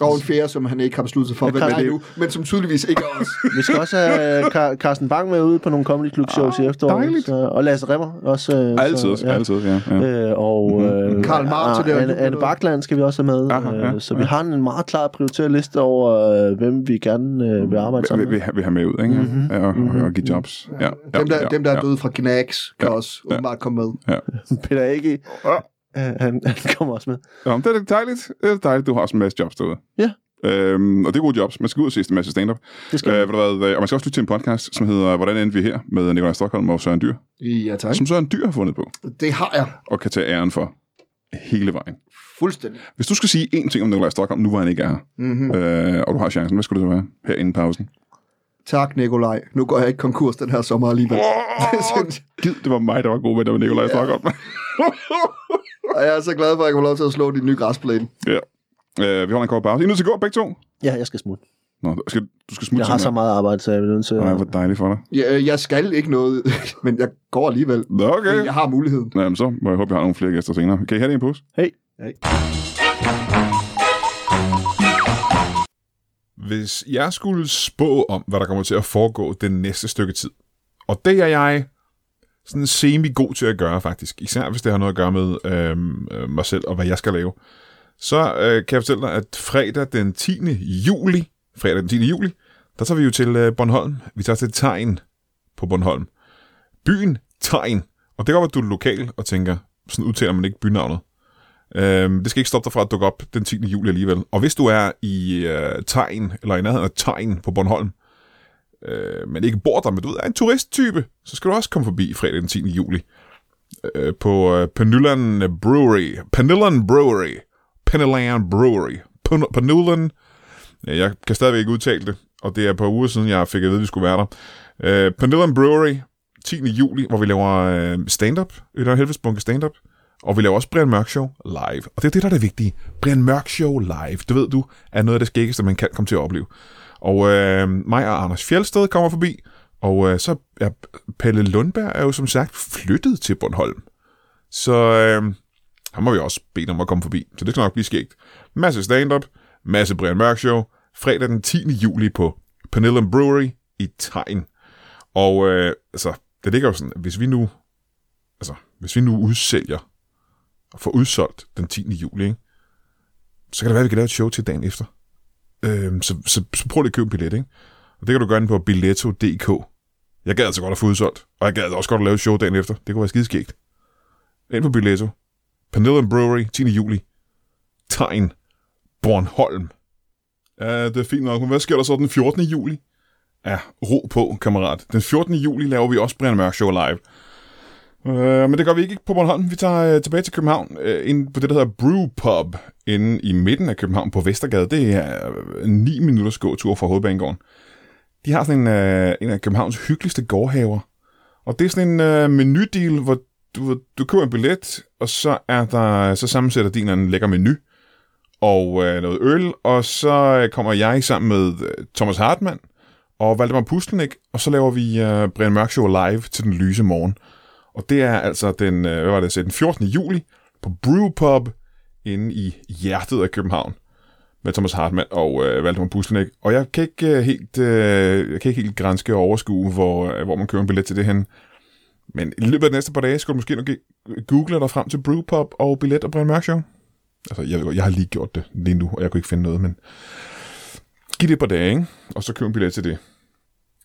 S3: Og en fjerde, som han ikke har besluttet sig for, hvem
S2: Karl-
S3: er nu, men som tydeligvis ikke er os.
S2: Vi skal også have øh, Car- Carsten Bang med ude på nogle Comedy Club shows i efteråret.
S1: Ah, dejligt.
S2: Så, og Lasse Remmer også. Øh,
S1: Altid,
S2: så,
S1: ja. altid, ja. ja.
S2: Øh, og øh,
S3: Karl Marx til det her
S2: Anne, Anne
S3: juledag.
S2: Bakland skal vi også have med.
S1: Aha, ja,
S2: øh, så vi
S1: ja.
S2: har en meget klar prioriteret liste over, øh, hvem vi gerne øh, vil arbejde sammen
S1: Vi,
S2: med.
S1: vi, vi har med ud, ikke? Mm-hmm. Ja, og, og, og give jobs. Ja, ja,
S3: Dem, der,
S1: ja,
S3: dem, der er
S1: ja.
S3: døde fra Gnags, kan også åbenbart komme med.
S2: Peter Ege, øh, han, han kommer også med.
S1: Ja, men det er da dejligt. Det er da dejligt, du har også en masse jobs derude.
S2: Ja.
S1: Øhm, og det er gode jobs. Man skal ud og se en masse stand-up.
S2: Det skal
S1: Øh, ved du hvad, øh, og man skal også lytte til en podcast, som hedder Hvordan endte vi her? med Nikolaj Stockholm og Søren Dyr.
S3: Ja, tak.
S1: Som Søren Dyr har fundet på,
S3: Det har jeg
S1: og kan tage æren for hele vejen.
S3: fuldstændig.
S1: Hvis du skal sige én ting om Nikolaj Stockholm, nu hvor han ikke er her,
S2: Mhm.
S3: Mm-hmm.
S1: øh, og du har chancen, hvad skulle det så være her inden pausen?
S3: Tak, Nikolaj. Nu går jeg ikke konkurs den her sommer alligevel. Det synes jeg.
S1: Gid, det var mig, der var god venner med Nikolaj Stockholm.
S3: Og jeg er så glad for, at jeg kan få lov til at slå din nye græsplæne.
S1: ja.
S5: Øh, vi holder en kort pause. I er nødt til at gå begge to.
S2: Ja, jeg skal smutte.
S5: Nå, skal, du skal smutte
S2: Jeg har så
S5: simpelthen.
S2: meget arbejde, så jeg bliver nødt til
S5: Nej,
S2: at...
S5: hvor dejligt for dig.
S3: Ja, øh, jeg skal ikke noget, men jeg går alligevel.
S5: Nå, okay.
S3: Okay. Jeg har muligheden.
S5: Jamen, så må jeg håbe, jeg har nogle flere gæster senere. Kan I have det i en pose?
S2: Hey.
S3: Hey.
S1: Hvis jeg skulle spå om, hvad der kommer til at foregå det næste stykke tid, og det er jeg sådan semi-god til at gøre faktisk, især hvis det har noget at gøre med øhm, øh, mig selv og hvad jeg skal lave, så øh, kan jeg fortælle dig, at fredag den 10. juli, fredag den 10. juli, der tager vi jo til øh, Bornholm. Vi tager til Tegn på Bornholm. Byen Tegn. Og det går, at du er lokal og tænker, sådan udtaler man ikke bynavnet. Øhm, det skal ikke stoppe dig fra at dukke op den 10. juli alligevel. Og hvis du er i øh, Tegn, eller i nærheden af Tegn på Bornholm, øh, men ikke bor der, men du ved, er en turisttype, så skal du også komme forbi fredag den 10. juli øh, på øh, Penullan Brewery. Penullan Brewery. Penullan Brewery. Pen- Penullan. Ja, Øh, Jeg kan stadigvæk ikke udtale det, og det er et par uger siden, jeg fik at vide, at vi skulle være der. Øh, Penullan Brewery, 10. juli, hvor vi laver øh, stand-up. Vi laver en helvedes bunke stand-up. Og vi laver også Brian Mørk Show live. Og det er det, der er det vigtige. Brian Mørk Show live, det ved du, er noget af det skæggeste, man kan komme til at opleve. Og øh, mig og Anders Fjeldsted kommer forbi, og øh, så er Pelle Lundberg er jo som sagt flyttet til Bornholm. Så øh, ham må vi også bede om at komme forbi, så det skal nok blive skægt. Masse stand-up, masse Brian Mørk Show, fredag den 10. juli på Penillum Brewery i Tegn. Og øh, altså, det ligger jo sådan, at hvis vi nu, altså, hvis vi nu udsælger og får udsolgt den 10. juli, ikke? så kan det være, at vi kan lave et show til dagen efter. Øhm, så, så, så prøv lige at købe en billet, ikke? Og det kan du gøre inde på billetto.dk. Jeg gad altså godt at få udsolgt, og jeg gad altså også godt at lave et show dagen efter. Det kunne være skideskægt. Ind på Billetto. Panellan Brewery, 10. juli. Tegn. Bornholm. Ja, det er fint nok, men hvad sker der så den 14. juli? Ja, ro på, kammerat. Den 14. juli laver vi også Brian Mørk Show live. Øh, men det gør vi ikke på Bornholm. Vi tager øh, tilbage til København, øh, ind på det, der hedder Brew Pub, inde i midten af København på Vestergade. Det er øh, 9 minutters gåtur fra Hovedbanegården. De har sådan en, øh, en af Københavns hyggeligste gårdhaver. Og det er sådan en øh, menudeal, hvor du, du køber en billet, og så, er der, så sammensætter din en lækker menu og øh, noget øl, og så øh, kommer jeg sammen med øh, Thomas Hartmann og Valdemar Puslenik, og så laver vi øh, Brian Mørk Show live til den lyse morgen. Og det er altså den, øh, hvad var det, jeg sagde, den 14. juli på Brewpub inde i hjertet af København med Thomas Hartmann og øh, Valdemar Puslenik. Og jeg kan ikke øh, helt, øh, jeg kan ikke helt grænske og overskue, hvor, øh, hvor man køber en billet til det hen. Men i løbet af de næste par dage skal du måske nok google dig frem til Brewpub og billet og Brian Mørk Show. Altså, jeg, ved godt, jeg har lige gjort det lige nu, og jeg kunne ikke finde noget, men giv det et par dage, ikke? og så køb en billet til det.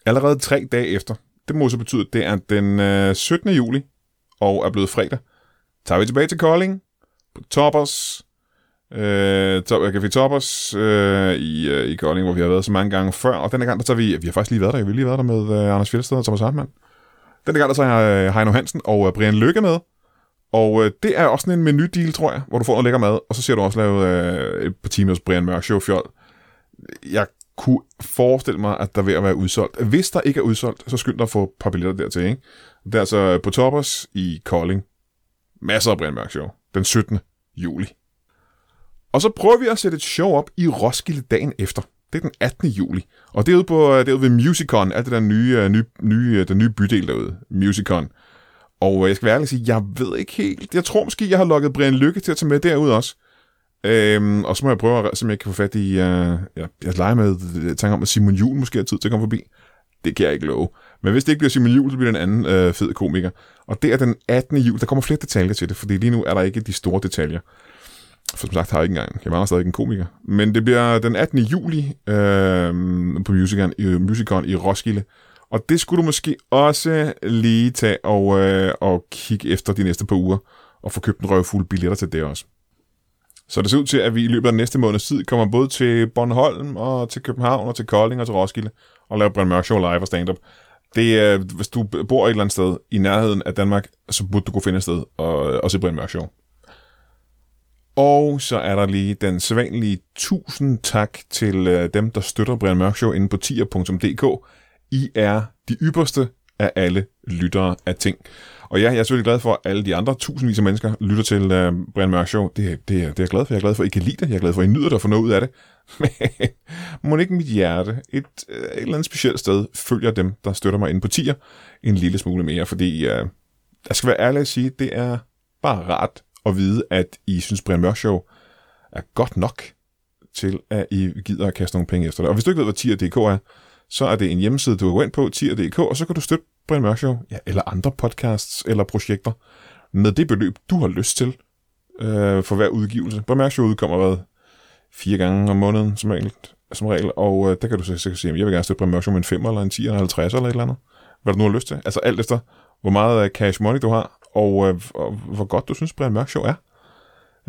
S1: Allerede tre dage efter, det må så betyde, at det er den øh, 17. juli, og er blevet fredag, tager vi tilbage til Kolding, på Toppers, øh, top, Café Toppers øh, i, øh, i Kolding, hvor vi har været så mange gange før, og denne gang, der tager vi, vi har faktisk lige været der, vi har lige været der med øh, Anders Fjeldsted og Thomas Hartmann. Denne gang, der tager jeg øh, Heino Hansen og øh, Brian Lykke med, og øh, det er også sådan en menudeal, tror jeg, hvor du får noget lækker mad, og så ser du også lavet øh, et par timers Brian Mørk Show fjol. Jeg kunne forestille mig, at der er ved at være udsolgt. Hvis der ikke er udsolgt, så skynd dig at få et par billetter dertil, ikke? Det er altså på Toppers i Kolding. Masser af Brian Mørk Show. Den 17. juli. Og så prøver vi at sætte et show op i Roskilde dagen efter. Det er den 18. juli. Og det er ude, på, det er ude ved Musicon, alt det der nye, øh, nye, nye, øh, den nye bydel derude. Musicon. Og øh, jeg skal være ærlig og sige, jeg ved ikke helt. Jeg tror måske, jeg har lukket Brian Lykke til at tage med derud også. Øhm, og så må jeg prøve at se, om jeg kan få fat i... Øh, jeg, jeg leger med øh, tanken om, at Simon Jul måske har tid til at komme forbi. Det kan jeg ikke love. Men hvis det ikke bliver Simon Jul, så bliver det en anden øh, fed komiker. Og det er den 18. jul. Der kommer flere detaljer til det, fordi lige nu er der ikke de store detaljer. For som sagt har jeg ikke engang. Jeg mangler stadig en komiker. Men det bliver den 18. juli øh, på musicalen, øh, musicalen i Roskilde. Og det skulle du måske også lige tage og, øh, og kigge efter de næste par uger, og få købt en røvfuld billetter til det også. Så det ser ud til, at vi i løbet af den næste måneds tid kommer både til Bornholm, og til København, og til Kolding, og til Roskilde, og laver Brian Mørk Show live og stand-up. Det, er, hvis du bor et eller andet sted i nærheden af Danmark, så burde du kunne finde et sted og, og se Brian Mørk Show. Og så er der lige den sædvanlige tusind tak til øh, dem, der støtter Brian Mørk Show inde på tier.dk. I er de ypperste af alle lyttere af ting.
S6: Og ja, jeg er selvfølgelig glad for, at alle de andre tusindvis af mennesker lytter til øh, Brian Mørk Show. Det, det, er- det er jeg glad for. Jeg er glad for, at I kan lide det. Jeg er glad for, at I nyder det og får noget ud af det. Men må ikke mit hjerte et, øh, et eller andet specielt sted følger dem, der støtter mig inde på tier, en lille smule mere. Fordi øh, jeg skal være ærlig at sige, det er bare rart at vide, at I synes, Brian Mørk Show er godt nok til, at I gider at kaste nogle penge efter det. Og hvis du ikke ved, hvad tier.dk er, så er det en hjemmeside, du kan gå ind på, tier.dk, og så kan du støtte Brian Mørk Show, ja, eller andre podcasts eller projekter, med det beløb, du har lyst til øh, for hver udgivelse. Brian Mørk Show udkommer hvad? Fire gange om måneden, som regel, som regel og øh, der kan du så sikkert sige, at jeg vil gerne støtte Brian Mørk Show med en 5 eller en 10 eller en 50 eller et eller andet. Hvad du nu har lyst til. Altså alt efter, hvor meget øh, cash money du har, og, øh, og hvor godt du synes, Brian Mørk Show er.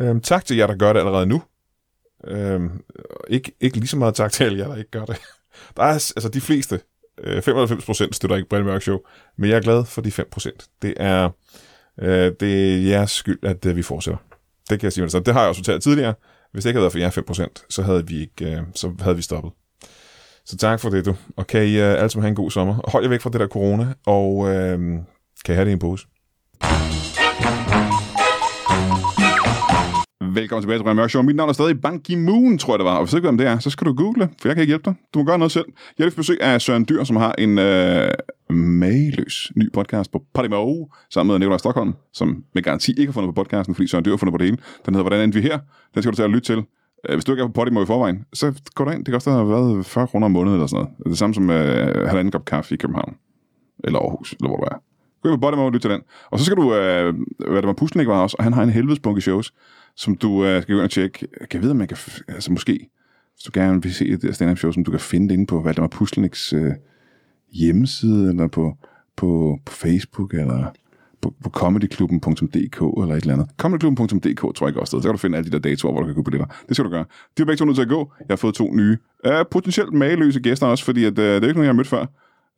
S6: Øhm, tak til jer, der gør det allerede nu. Øhm, ikke, ikke lige så meget tak til alle jer, der ikke gør det. Der er s- altså de fleste, øh, 95% støtter ikke Brian Mørk Show, men jeg er glad for de 5%. Det er, øh, det er jeres skyld, at øh, vi fortsætter. Det kan jeg sige med det samme. Det har jeg også fortalt tidligere. Hvis det ikke havde været for jer 5%, så havde vi, ikke, øh, så havde vi stoppet. Så tak for det, du. Og kan I øh, alle sammen have en god sommer. Og Hold jer væk fra det der corona, og øh, kan I have det i en pose.
S1: Velkommen tilbage til Brian Mørk Show. Mit navn er stadig Ban Ki-moon, tror jeg det var. Og hvis du ikke ved, hvem det er, så skal du google, for jeg kan ikke hjælpe dig. Du må gøre noget selv. Jeg har haft besøg af Søren Dyr, som har en øh, mageløs ny podcast på Podimo, sammen med Nikolaj Stockholm, som med garanti ikke har fundet på podcasten, fordi Søren Dyr har fundet på det hele. Den hedder Hvordan endte vi her? Den skal du til at lytte til. Øh, Hvis du ikke er på Podimo i forvejen, så går du ind. Det kan også have været 40 kroner om måneden eller sådan noget. Det er Det samme som øh, halvanden kop kaffe i København. Eller Aarhus, eller hvor du er. Gå ind på Podimo og lyt til den. Og så skal du, øh, hvad det var, Pusnik var også, og han har en helvedes bunke shows som du øh, skal gå ind og tjekke. Kan jeg vide, om man kan... f- Altså måske, hvis du gerne vil se et stand-up show, som du kan finde det inde på Valdemar Pusleniks øh, hjemmeside, eller på, på, på Facebook, eller på, på comedyklubben.dk, eller et eller andet. Comedyklubben.dk tror jeg ikke også er stedet. Så kan du finde alle de der datoer, hvor du kan købe billetter. Det skal du gøre. De er begge to nødt til at gå. Jeg har fået to nye, øh, potentielt mageløse gæster også, fordi at, øh, det er ikke nogen, jeg har mødt før.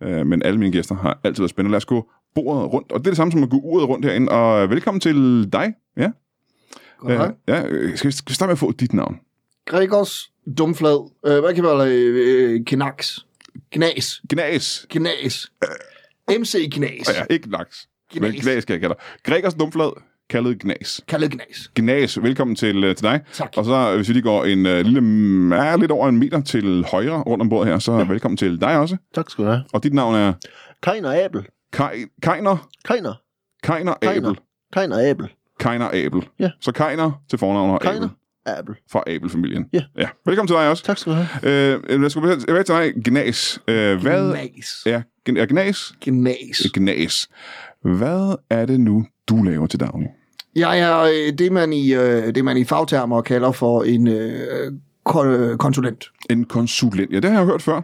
S1: Øh, men alle mine gæster har altid været spændende. Lad os gå bordet rundt. Og det er det samme som at gå uret rundt herinde. Og øh, velkommen til dig. Ja,
S3: Godt,
S1: Ja,
S3: hej.
S1: ja, øh, skal, vi- skal vi starte med at få dit navn?
S3: Gregors Dumflad. Øh, hvad kan vi kalde øh, Knaks? Gnas.
S1: Gnas.
S3: Gnas. MC Gnas.
S1: Ah, Ja, ikke laks. Men
S3: Gnas.
S1: Gnas, skal jeg kalde dig. Gregers Dumflad, kaldet Gnas.
S3: Kaldet Gnas.
S1: Gnas, velkommen til, øh, til dig.
S3: Tak.
S1: Og så, hvis vi lige går en øh, lille, mm, ja, lidt over en meter til højre rundt om bordet her, så ja. velkommen til dig også.
S2: Tak skal du have.
S1: Og dit navn er
S2: Kajner Abel.
S1: Kaj- Kajner,
S2: Kajner.
S1: Kajner
S2: Kajner.
S1: Abel.
S2: Kajner Abel.
S1: Kajner Abel.
S2: Ja.
S1: Så Kajner til fornavn og
S2: Kajner
S1: Abel.
S2: Abel.
S1: Fra Abel-familien.
S2: Ja.
S1: ja. Velkommen til dig også.
S2: Tak skal du have.
S1: Øh, lad os gå tilbage til dig, Gnas. Øh, hvad
S3: Gnas.
S1: er, er Gnas?
S3: Gnas.
S1: Gnas. Hvad er det nu, du laver til daglig?
S3: Jeg er øh, det, man i, øh, det, man i fagtermer kalder for en øh, ko- øh, konsulent.
S1: En konsulent. Ja, det har jeg hørt før.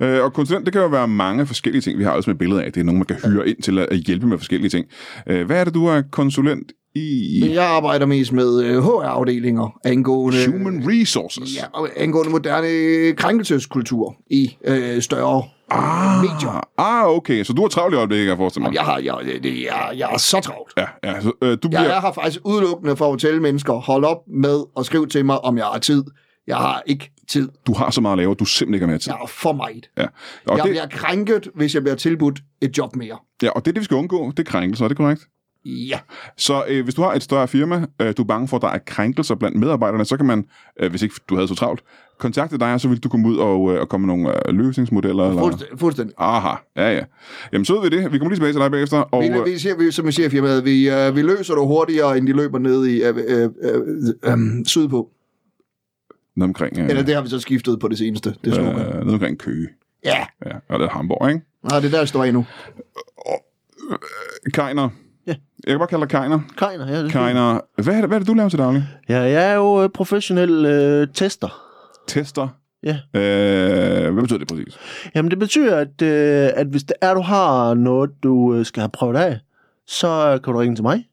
S1: Ja. Øh, og konsulent, det kan jo være mange forskellige ting. Vi har også med billeder af, det er nogen, man kan hyre ind til at at hjælpe med forskellige ting. Øh, hvad er det, du er konsulent i?
S3: Jeg arbejder mest med øh, HR-afdelinger angående...
S1: Human Resources.
S3: Ja, og angående moderne krænkelseskultur i øh, større ah. medier.
S1: Ah, okay. Så du har travlt i øjeblikket, kan jeg forestille mig.
S3: Jeg, har, jeg, det- det- jeg, jeg er så travlt.
S1: Ja, ja. Så, øh, du bliver...
S3: Jeg er her faktisk udelukkende for at fortælle mennesker, hold op med at skrive til mig, om jeg har tid. Jeg har ikke tid.
S1: Du har så meget at lave, du simpelthen ikke har mere tid.
S3: Jeg er for meget.
S1: Ja. Og,
S3: jeg
S1: det,
S3: bliver krænket, hvis jeg bliver tilbudt et job mere.
S1: ja, og det er det, vi skal undgå. Det er krænkelser, er det korrekt?
S3: Ja.
S1: Så øh, hvis du har et større firma, øh, du er bange for, at der er krænkelser blandt medarbejderne, så kan man, øh, hvis ikke du havde så travlt, kontakte dig, og så vil du komme ud og, øh, og komme med nogle øh, løsningsmodeller. Eller...
S3: Fuldstændig. fuldstændig.
S1: Aha, ja ja. Jamen så ved vi det. Vi kommer lige tilbage til dig bagefter. Og,
S3: Vi,
S1: øh,
S3: vi siger, vi, som vi siger i firmaet, vi, øh, vi løser det hurtigere, end de løber ned i øh, øh, øh, øh, sydpå.
S1: ned omkring, øh,
S3: Eller det har vi så skiftet på det seneste. Det er slogan.
S1: øh, ned omkring Køge.
S3: Ja,
S1: Ja, og det er Hamburg, ikke?
S3: Nej, det er der, jeg står i nu.
S1: Kejner.
S2: Ja.
S1: Jeg kan bare kalde dig Kejner.
S2: Kajner, ja. det er fint.
S1: Kejner. Hvad er, det, hvad er det, du laver til daglig?
S2: Ja, jeg er jo øh, professionel øh, tester.
S1: Tester.
S2: Ja.
S1: Øh, hvad betyder det præcis?
S2: Jamen, det betyder, at, øh, at hvis det er, du har noget, du øh, skal have prøvet af, så kan du ringe til mig,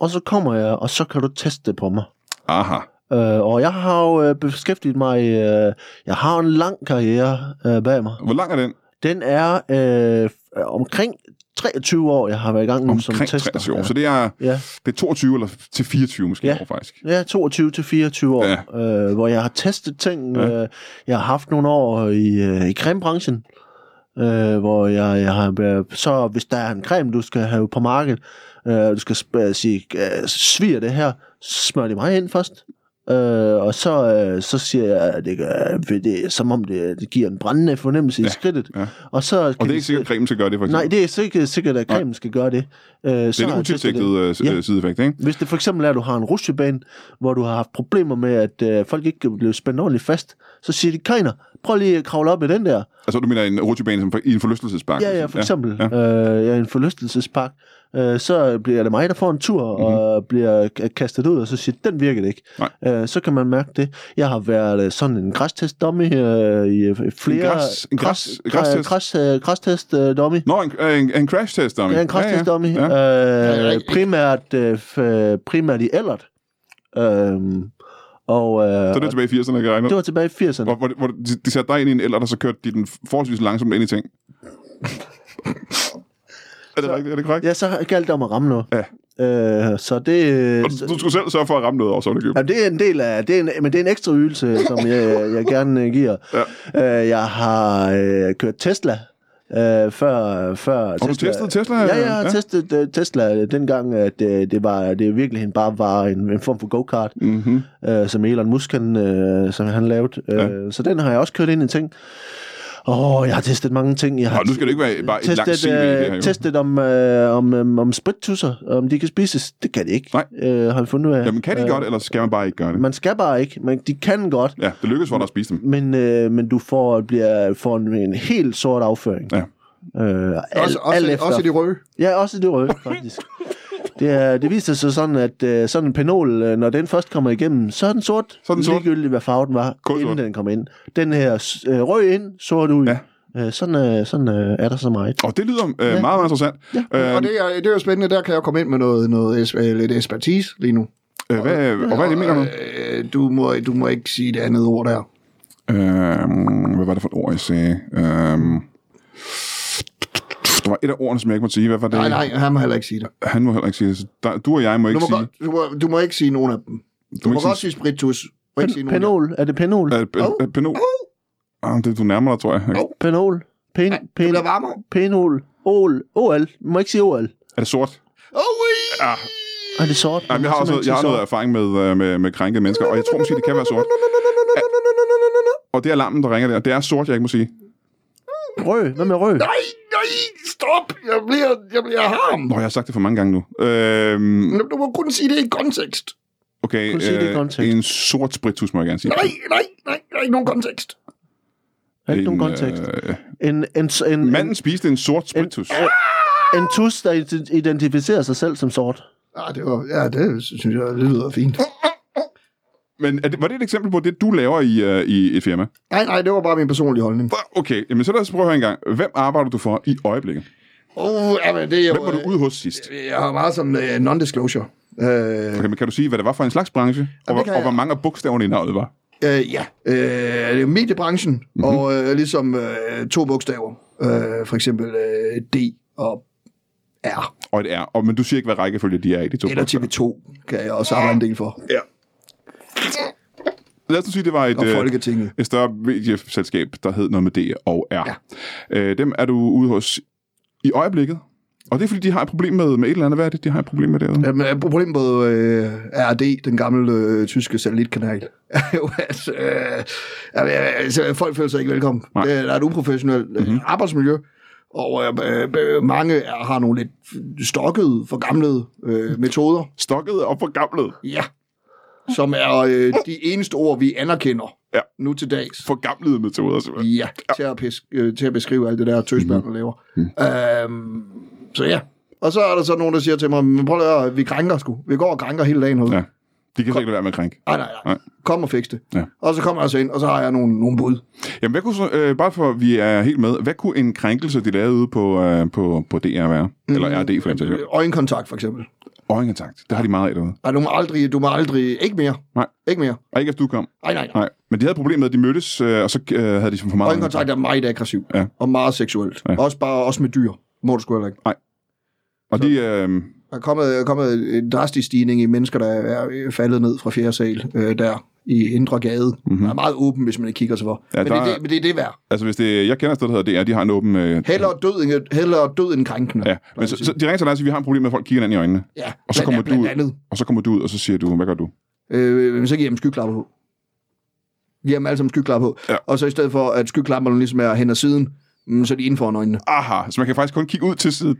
S2: og så kommer jeg, og så kan du teste det på mig.
S1: Aha.
S2: Øh, og jeg har jo øh, beskæftiget mig, øh, jeg har en lang karriere øh, bag mig.
S1: Hvor lang er den?
S2: Den er øh, f- omkring 23 år, jeg har været i gang nu som
S1: Omkring
S2: tester.
S1: 60 år.
S2: Ja.
S1: Så det er,
S2: Ja.
S1: det er 22 eller til 24 måske
S2: Ja.
S1: år, faktisk.
S2: Ja, 22 til 24 år, ja. øh, hvor jeg har testet ting.
S1: Ja.
S2: Ja. Øh, jeg har haft nogle år i, øh, i cremebranchen, øh, hvor jeg, jeg har været- så hvis der er en creme, du skal have på markedet, Øh, du skal sp- sige, øh, sviger det her, smør det mig ind først. Øh, og så, øh, så siger jeg, at det, gør, ved det, som om det, det giver en brændende fornemmelse ja, i skridtet.
S1: ja.
S2: Og, så
S1: Og det
S2: de-
S1: er ikke sikkert, at cremen skal gøre det, for eksempel.
S2: Nej, det er så ikke sikkert, at cremen skal gøre det. Øh,
S1: det er
S2: så har
S1: en
S2: jeg testet det.
S1: utilsigtet øh, s-
S2: Ja.
S1: øh, sideeffekt, ikke?
S2: Hvis det for eksempel er, at du har en rutsjebane, hvor du har haft problemer med, at øh, folk ikke blev spændt ordentligt fast, så siger de, Kajner, prøv lige at kravle op i den der.
S1: Altså, du mener en rutsjebane som for, i en forlystelsespark?
S2: Ja, ja, for eksempel. Ja, ja. Øh, ja en forlystelsespark. Øh, så bliver det mig, der får en tur og mm-hmm. bliver k- kastet ud, og så siger, den virker det ikke.
S1: Mhm. Nej.
S2: Øh, så kan man mærke det. Jeg har været øh, sådan en græstest-dummy øh, i øh, flere...
S1: græs- en græs- græstest?
S2: Græs, øh, græstest-dummy.
S1: Nå, en, øh, en, en crash test, dummy.
S2: Ja, en kraftidsdommy.
S1: Ja, ja.
S2: Ja.
S3: Ja,
S2: Øh,
S3: ja.
S2: primært, øh, f- primært i Ellert. Øhm, og, øh,
S1: Så er det tilbage i 80'erne, jeg kan regne ud.
S2: det var tilbage i 80'erne.
S1: Hvor, hvor, hvor de, de satte dig ind i en eller og så kørte de den forholdsvis langsomt ind i ting. er, det rigtigt, er det korrekt?
S2: Ja, så galt det om at ramme noget.
S1: Ja.
S2: Øh, så det...
S1: Og
S2: Øh,
S1: du,
S2: så,
S1: du skulle selv sørge for at ramme noget over sådan
S2: Jamen, det er en del af, det er en, men det er en ekstra ydelse, som jeg, jeg gerne øh, giver.
S1: Ja.
S2: Øh, jeg har øh, kørt Tesla øh, før, før
S1: Og du testede Tesla?
S2: Ja, jeg har
S1: ja.
S2: ja. testet øh, Tesla øh, dengang, at øh, det, var, det virkelig bare var en, en form for go-kart.
S1: Mm-hmm.
S2: øh, som Elon Musk, han, øh, som han lavede. Øh,
S1: Ja.
S2: Så den har jeg også kørt ind i ting. Åh, oh, jeg har testet mange ting. Jeg har
S1: Og nu skal det ikke være bare et langt CV,
S2: testet,
S1: det her
S2: øh,
S1: jo.
S2: testet om, øh, om, øh, om sprittusser, om de kan spises. Det kan de ikke,
S1: Nej.
S2: Øh, har vi fundet ud af.
S1: Jamen, kan de
S2: Øh,
S1: godt, eller skal man bare ikke gøre det?
S2: Man skal bare ikke, men de kan godt.
S1: Ja, det lykkedes for dig at spise dem.
S2: Men, øh, men du får, bliver, får en, en helt sort afføring.
S1: Ja.
S2: Øh, al,
S3: Også, også,
S2: al
S3: i-
S2: efter.
S3: også i de røde.
S2: Ja, også det røde, faktisk. Det, er, det viser sig sådan, at øh, sådan en penol, øh, når den først kommer igennem, så er den sort.
S1: Så er den sort.
S2: Ligegyldigt, hvad farve den var,
S1: Kulsort.
S2: inden den kom ind. Den her s- øh, rød ind, sort ud.
S1: Ja.
S2: Øh, sådan øh, sådan øh, er der så meget.
S1: Og det lyder øh, meget, meget interessant. Ja. Øh,
S3: Og det er, det er jo spændende, der kan jeg komme ind med noget, noget es- øh, lidt ekspertise lige nu.
S1: øh, hvad, og hvad er det, mener du?
S3: Øh, du, må, du må ikke sige det andet ord der.
S1: Øh, hvad var det for et ord, jeg sagde? Øh, der var et af ordene, som jeg ikke måtte sige. Hvad var det?
S3: Nej, nej, han må heller ikke sige det.
S1: Han må heller ikke sige det. Så Der, du og jeg må
S3: Du
S1: ikke
S3: må,
S1: sige...
S3: godt, du, må, du må ikke sige nogen af dem. Du,
S1: må
S3: må
S1: ikke
S3: godt sige spiritus. Du må ikke sige nogen af dem.
S2: Penol, er det penol?
S1: Øh, øh, øh, Pinot. Ah, det er du nærmer dig, tror jeg.
S3: Au.
S2: Penol. Pen,
S3: Det
S2: pen,
S3: bliver varmere.
S2: penol. Ol. OL. Man må ikke sige OL.
S1: Er det sort?
S3: Oh,
S1: Ah,
S2: Er det sort?
S1: jamen, jeg har også noget, jeg har noget erfaring med, øh, med, med krænkede mennesker, og jeg tror måske, det kan være sort. Og det er alarmen, der ringer der. Det er sort, jeg ikke må sige.
S2: Rød. Hvad med rød?
S3: nej, nej, stop. Jeg bliver, jeg bliver harm.
S1: Nå, jeg har sagt det for mange gange nu. Øhm,
S3: Du må kun sige det i kontekst.
S1: okay, øh,
S2: Kun sige det i kontekst.
S1: en sort spritus, må jeg gerne sige.
S3: Nej, nej, nej, der er ikke nogen kontekst.
S2: Er ikke
S1: En,
S2: nogen kontekst.
S1: Øh,
S2: En, en, en, en,
S1: manden spiste en sort spritus.
S2: en tus, der ident- identificerer sig selv som sort.
S3: Ah, det var, ja, det synes jeg, det lyder fint.
S1: Men er det, var det et eksempel på det, du laver i, øh, i et firma?
S3: Nej, nej, det var bare min personlige holdning.
S1: Okay, jamen så lad os prøve at høre en gang. Hvem arbejder du for i øjeblikket?
S3: Oh, ja, men det er jo...
S1: Hvem var du ude hos sidst?
S3: øh, Jeg har meget sådan uh, non-disclosure. Uh,
S1: Okay, men kan du sige, hvad det var for en slags branche? Og,
S3: det kan
S1: hvor- og
S3: jeg.
S1: hvor mange af bogstaverne i navnet var?
S3: uh, ja, uh, det er jo mediebranchen, mm-hmm. og uh, ligesom uh, to bogstaver. Uh, for eksempel uh, D og R.
S1: Og et R. Og, men du siger ikke, hvad rækkefølge de er i de to
S3: Eller
S1: bogstaver.
S3: TV2 kan jeg også arbejde en del for.
S1: Lad os nu sige, det var et,
S3: Og
S1: øh,
S3: Folketinget.
S1: et større medieselskab, der hed noget med D og R. Ja. Øh, dem er du ude hos i øjeblikket. Og det er, fordi de har et problem med, med et eller andet. Hvad er det, de har et problem med derude? Ja.
S3: Jamen, øh, problemet med øh, RD, den gamle øh, tyske satellitkanal, er jo, at øh, jamen, altså, folk føler sig ikke velkommen.
S1: Nej. Mhm.
S3: Det, der er et uprofessionelt øh, mm-hmm. arbejdsmiljø, og øh, øh, mange er, har nogle lidt stokkede, forgamlede øh, metoder,
S1: Stokket og forgamlet.
S3: ja, som er øh, de eneste ord, vi anerkender
S1: Ja.
S3: nu til dags.
S1: Forgamlede metoder, simpelthen.
S3: Ja, til at, pesk, øh, til at beskrive alt det der tøsmand,
S1: Mhm.
S3: der laver. Øhm, så ja. Og så er der så nogen, der siger til mig, "Men prøv lige at høre, vi krænker sgu. Vi går og krænker hele dagen herude.
S1: Ja. De kan slet ikke lade være med at krænke.
S3: Nej, nej,
S1: Nej.
S3: nej. Kom og fix det.
S1: Ja.
S3: Og så kommer jeg så ind, og så har jeg nogle, nogle bud.
S1: Jamen, hvad kunne så, øh, bare for at vi er helt med, hvad kunne en krænkelse, de lavede ude på, øh, på, på DR være? Eller RD for den sags skyld.
S3: Øh, Øjenkontakt, for eksempel.
S1: Øjenkontakt. Det har de meget af derude.
S3: Nej, du må aldrig, du må aldrig, ikke mere.
S1: Nej.
S3: Ikke mere.
S1: Og ikke efter du kom.
S3: Nej, nej, nej.
S1: Nej, men de havde problemet med, at de mødtes, øh, og så øh, havde de for meget...
S3: Øjenkontakt er meget aggressiv.
S1: Ja.
S3: Og meget seksuelt.
S1: Ja.
S3: Også bare også med dyr. Må du sgu heller ikke.
S1: Og de, øh,
S3: Der er kommet, er kommet en drastisk stigning i mennesker, der er faldet ned fra fjerde sal øh, der i Indre Gade. Mm-hmm. Den er meget åben, hvis man ikke kigger sig for.
S1: Mhm. Ja,
S3: Ja, men, det,
S1: der
S3: er
S1: er-
S3: det, men det er det værd.
S1: Altså, hvis det, jeg kender et sted, der hedder DR, de har en åben... Øh,
S3: Hellere død end, hellere død end krænkende.
S1: ja, men så, så de ringer til dig og siger, vi har en problem med, at folk kigger hinanden i øjnene.
S3: ja
S1: Og så, kommer du
S3: blandt
S1: ud,
S3: andet.
S1: og så kommer du ud, og så siger du, hvad gør du?
S3: Øh, men så giver jeg dem skyklapper på. Giver dem alle sammen skyklapper på.
S1: Ja.
S3: Ja. Og så i stedet for, at skyklapperne ligesom er hen ad siden, mm, så er de inden foran øjnene.
S1: Aha, så man kan faktisk kun kigge ud til siden.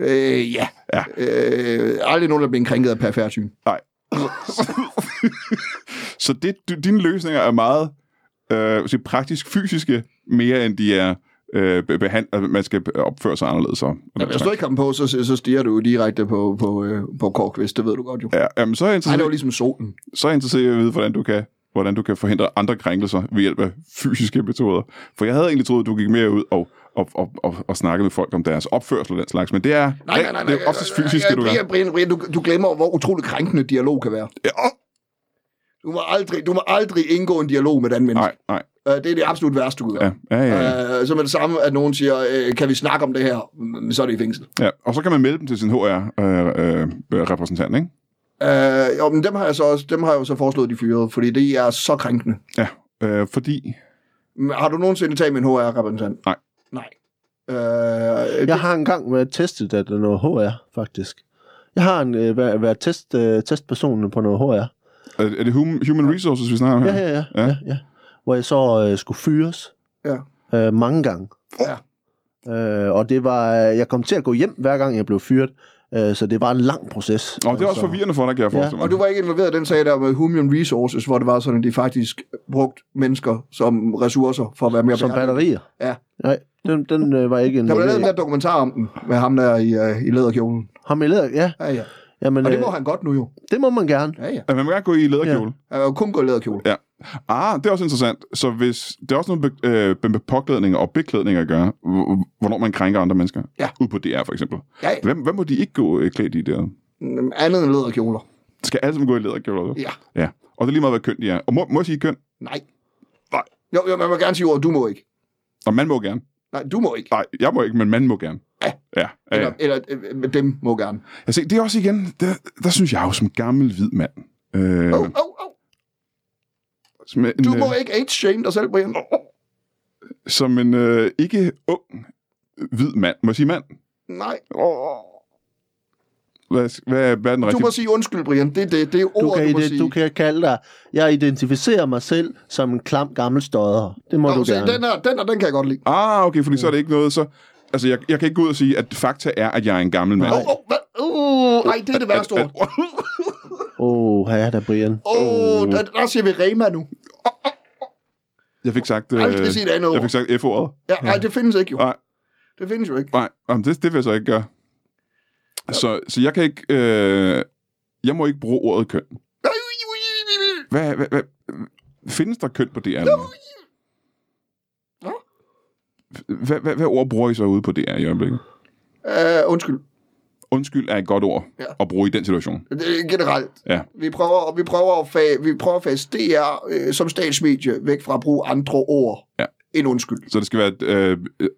S3: Øh, ja.
S1: Ja.
S3: Øh, aldrig nogen, der bliver krænket af perfærdsyn.
S1: Så det, du, dine løsninger er meget øh, så praktisk fysiske, mere end de er, øh, be- behand, at man skal opføre sig anderledes. Og, og
S3: Jamen,
S1: den
S3: hvis du
S1: slags.
S3: ikke har dem på, så, så stiger du jo direkte på, på, øh, på Korkvist, det ved du godt jo.
S1: ja, jamen, så er jeg
S3: Nej, det var
S1: interesseret,
S3: ligesom solen.
S1: så er jeg interesseret i at vide, hvordan du kan hvordan du kan forhindre andre krænkelser ved hjælp af fysiske metoder. For jeg havde egentlig troet, at du gik mere ud og, og, og, og, og snakkede med folk om deres opførsel og den slags, men det er,
S3: Nej, nej, nej. nej
S1: det er oftest
S3: nej,
S1: fysisk,
S3: nej,
S1: det du gør.
S3: Brian, Brian, Brian, du, du glemmer, hvor utrolig krænkende dialog kan være.
S1: Ja, åh,
S3: Du må aldrig, du må aldrig indgå en dialog med den menneske.
S1: nej, nej.
S3: Øh, det er det absolut værste, du kan
S1: Ja,
S3: gøre.
S1: ja, ja, ja.
S3: Øh, så med det samme, at nogen siger, øh, kan vi snakke om det her? Mm, Så er det i fængsel.
S1: Ja, og så kan man melde dem til sin øh, HR-repræsentant, ikke?
S3: Øh, jo, men dem har jeg så også, dem har jeg jo så foreslået, de fyrede, fordi det er så krænkende.
S1: Ja, øh, fordi...
S3: Men Har du nogensinde talt med en HR-repræsentant?
S1: Nej.
S3: Nej. Øh,
S2: Jeg har engang været testet af noget HR, faktisk. Jeg har en, øh, været, været test, øh, testpersonen på noget HR.
S1: Er, er det hum, human resources, vi snakker om her?
S2: Ja, ja, ja.
S1: Ja.
S2: ja. ja, ja. Hvor jeg så øh, skulle fyres
S3: Ja.
S2: øh, mange gange.
S3: Ja.
S2: Øh, og det var, jeg kom til at gå hjem, hver gang jeg blev fyret. Øh, så det var en lang proces.
S1: Nå, det er også forvirrende for dig, kan jeg
S2: Ja.
S1: forestille mig.
S3: Altså- Og du var ikke involveret i den sag der med Human Resources, hvor det var sådan, at de faktisk brugte mennesker som ressourcer for at være mere
S2: Som
S3: bæredygtige.
S2: batterier.
S3: Ja.
S2: Nej, den, den øh, var ikke en...
S3: Der blev lavet en der dokumentar om den, med ham der i, øh, i læderkjolen.
S2: Ham i læder, ja.
S3: Ja, ja.
S2: Jamen,
S3: Og det må
S2: øh,
S3: han godt nu jo.
S2: det må man gerne.
S3: Ja, ja.
S1: Ja, man må gerne gå i læderkjole.
S3: Han har jo kun gået i læderkjole.
S1: Ja. Ah, det er også interessant. Så hvis, det er også noget be, øh, med påklædning og beklædning at gøre, hv- hvornår man krænker andre mennesker.
S3: Ja.
S1: Ud på DR for eksempel.
S3: Ja, ja.
S1: Hvem, hvem må de ikke gå øh, klædt i der?
S3: Mm, Andet end læderkjoler.
S1: Skal alle sammen gå i læderkjole?
S3: Ja.
S1: ja. Og det er lige meget, hvad køn de er. Og må, må jeg sige køn?
S3: Nej.
S1: Nej.
S3: Jo, jo, man må gerne sige ordet, du må ikke.
S1: Og man må gerne.
S3: Nej, du må ikke.
S1: Nej, jeg må ikke, men man må gerne.
S3: Ja.
S1: Ja. ja, ja.
S3: Eller, eller øh, øh, dem må gerne.
S1: Altså, det er også igen, der, der synes jeg jo som gammel hvid mand. Øh,
S3: Åh, åh, åh.
S1: som en,
S3: Du må
S1: øh,
S3: ikke age-shame dig selv, Brian. Åh, åh.
S1: Som en øh, ikke ung hvid mand. Må jeg sige mand?
S3: Nej.
S1: Hvad, hvad, hvad er den
S3: Du
S1: rigtige?
S3: må sige undskyld, Brian. Det er det, det er
S2: Du
S3: ordet,
S2: kan,
S3: du, må
S2: ide-
S3: sige.
S2: du kan kalde dig, jeg identificerer mig selv som en klam gammel stodder. Det må
S3: Nå,
S2: du
S3: se,
S2: gerne.
S3: den, her, den her, den kan jeg godt lide.
S1: Ah, okay, fordi så er det ikke noget, så... Altså, jeg, jeg kan ikke gå ud og sige, at fakta er, at jeg er en gammel mand.
S3: Åh, åh, hvad? Uh, ej, det er det værste ord.
S2: Åh, her er der Brian.
S3: Åh, der, der siger vi Rema nu.
S1: Jeg fik sagt... Øh,
S3: Aldrig sige et andet
S1: jeg
S3: ord.
S1: fik sagt F-ordet.
S3: Ja, nej, det findes ikke jo.
S1: Nej.
S3: Det findes jo ikke.
S1: Nej, jamen, det, det vil jeg så ikke gøre. Så, så jeg kan ikke... Øh, jeg må ikke bruge ordet køn. Hvad, hvad, hvad, findes der køn på DR? nu?
S3: Nå.
S1: Hvad, hvad, hvad ord bruger I så ude på DR i øjeblikket?
S3: Uh, undskyld.
S1: Undskyld er et godt ord
S3: Ja.
S1: at bruge i den situation.
S3: Det er generelt.
S1: Ja.
S3: Vi prøver, vi prøver, at, fag, vi prøver at fase DR øh, som statsmedie væk fra at bruge andre ord
S1: Ja.
S3: end undskyld.
S1: Så det skal være... et, Øh, øh,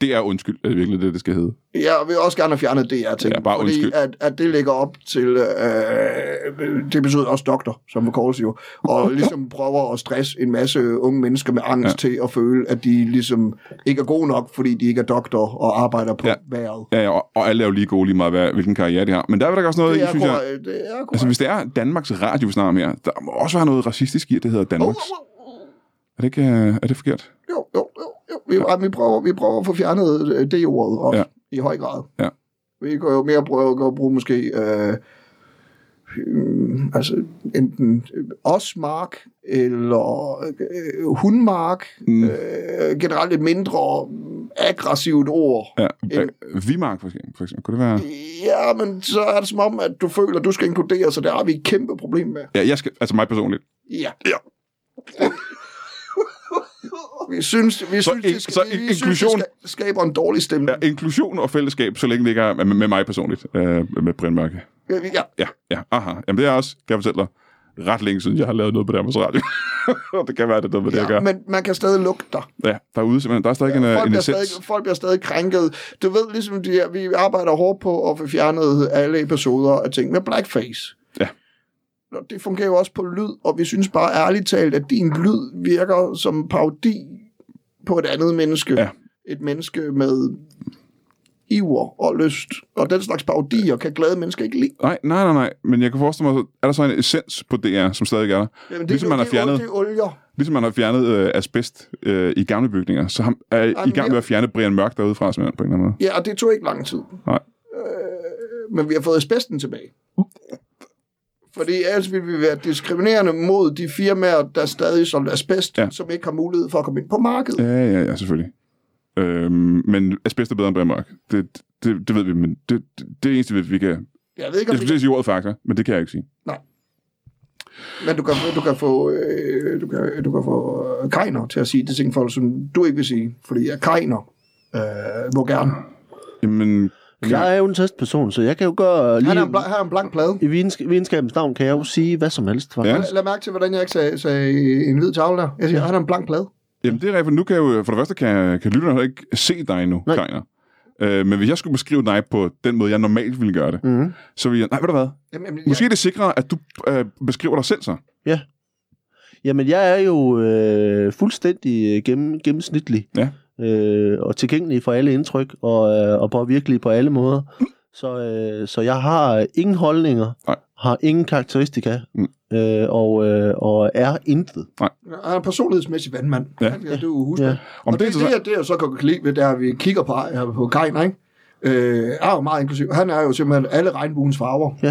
S1: det er undskyld, er det virkelig det, det skal hedde.
S3: Jeg vil også gerne have fjernet DR ting,
S1: Ja, bare
S3: fordi
S1: undskyld.
S3: at, at det ligger op til, øh, det betyder også doktor, som McCall jo, og ligesom prøver at stresse en masse unge mennesker med angst ja. til at føle, at de ligesom ikke er gode nok, fordi de ikke er doktor og arbejder på
S1: Ja.
S3: ja. vejret.
S1: Ja, ja, og, og alle er jo lige gode, lige meget hvad, hvilken karriere de har. Men der er vel også noget,
S3: Det
S1: i,
S3: er,
S1: synes jeg...
S3: korrekt, det er
S1: Altså,
S3: korrekt.
S1: hvis det er Danmarks Radio, vi snakker om her, der må også være noget racistisk i, at det hedder
S3: Åh, åh,
S1: Danmarks.
S3: åh, åh.
S1: Er det, ikke, øh, er det forkert?
S3: Jo, jo, jo. jo. Vi, ja. vi, prøver, vi prøver at få fjernet øh, det ordet også,
S1: Ja.
S3: ja. i høj grad.
S1: Ja.
S3: Vi går jo mere prøve at gå og bruge måske øh, øh, altså enten øh, osmark eller øh, hundmark.
S1: Mm.
S3: Mm. Øh, generelt et mindre aggressivt ord. Ja.
S1: Ja.
S3: En-
S1: Øh, Vimark, for eksempel. for eksempel. Kunne det være...
S3: Øh. ja, men så er det som om, at du føler, at du skal inkluderes, så det har vi et kæmpe problem med.
S1: Ja, jeg skal... Altså, mig personligt.
S3: Ja.
S1: Ja.
S3: Vi synes, vi
S1: Så
S3: synes,
S1: in-
S3: det, skal,
S1: så
S3: vi, vi
S1: inklusion-
S3: synes, det ska- skaber en dårlig stemning.
S1: Ja, inklusion og fællesskab, så længe det ikke er med, med mig personligt, øh, med Brian Mørke.
S3: Ja, ja.
S1: Ja, ja, aha. Jamen, det er også, kan jeg fortælle dig, ret længe siden, jeg har lavet noget på Danmarks Radio. Og det kan være, det er noget med det, jeg gør.
S3: ja men man kan stadig lugte dig.
S1: Ja, derude simpelthen. Der er stadig en, øh,
S3: Folk,
S1: en
S3: bliver
S1: essens.
S3: stadig, folk bliver stadig krænket. Du ved, ligesom de her, vi arbejder hårdt på at få fjernet alle episoder af ting med blackface.
S1: Ja.
S3: og det fungerer jo også på lyd, og vi synes bare ærligt talt, at din lyd virker som parodi på et andet menneske.
S1: Ja.
S3: Et menneske med iver og lyst, og den slags parodier kan glade mennesker ikke lide.
S1: Nej, nej, nej, nej. Men jeg kan forestille mig, er der så en essens på DR, som stadig er der?
S3: Jamen, det,
S1: Ligesom
S3: det,
S1: man har
S3: det,
S1: fjernet-
S3: Det er olier.
S1: Ligesom man har fjernet øh, asbest øh, i gamle bygninger, så ham, er i
S3: men
S1: gang
S3: jeg-
S1: med at fjerne Brian Mørk derudefra, simpelthen, på en eller anden måde.
S3: Ja, og det tog ikke lang tid.
S1: Nej.
S3: Øh, men vi har fået asbesten tilbage. Fordi ellers ville vi være diskriminerende mod de firmaer, der stadig solgte asbest,
S1: Ja.
S3: ja. som ikke har mulighed for at komme ind på markedet. Ja.
S1: Ja, ja, ja, selvfølgelig. Øhm, men asbest er bedre end Brian Mørk. Det, det, det ved vi, men det, det, det er det eneste, vi- vi kan...
S3: Jeg ved ikke,
S1: Jeg
S3: om
S1: skulle til
S3: det,
S1: at sige ordet fakta, men det kan jeg ikke sige.
S3: men du kan, du kan få, øh, du kan, du kan få øh, kajner til at sige de ting, folk, som du ikke vil sige. Fordi at kajner øh, må gerne.
S1: Jamen,
S2: Jeg er jo en testperson, så jeg kan jo gøre
S3: Han
S2: lige...
S3: er en, bla, han er en blank plade.
S2: I vidensk- videnskabens navn kan jeg jo sige hvad som helst, faktisk.
S1: Ja.
S2: Ja.
S3: Lad, lad mærke til, hvordan jeg ikke sagde, sagde en hvid tavle der. Jeg siger, han er en blank plade.
S1: jamen det er rigtigt, for nu kan jeg jo... For det første kan, kan lytterne heller ikke se dig nu,
S2: Nej.
S1: Kleiner. Øh, men hvis jeg skulle beskrive dig på den måde, jeg normalt ville gøre det,
S3: Mhm.
S2: Mm.
S1: så ville jeg... Nej, ved du hvad?
S3: Jamen, jamen,
S1: Måske er det sikrere, at du øh, beskriver dig selv så.
S2: Jamen, jeg er jo øh, fuldstændig øh, gennem, gennemsnitlig.
S1: Ja.
S2: Øh, og tilgængelig for alle indtryk, og, øh, og påvirkelig på alle måder. Så, øh, så jeg har ingen holdninger,
S1: Nej.
S2: har ingen karakteristika,
S1: Mm.
S2: øh, og, øh, og er intet.
S3: jeg, han er en personlighedsmæssig vandmand.
S1: Ja.
S3: Han, ja, det er jo husband.
S2: Ja.
S1: Om
S3: og det, det,
S1: så...
S3: det, jeg- det, jeg så kan lide ved, det er, at vi kigger på, på Kajner, ikke? Øh, er jo meget inklusiv. Han er jo simpelthen alle regnbuens farver.
S2: Ja.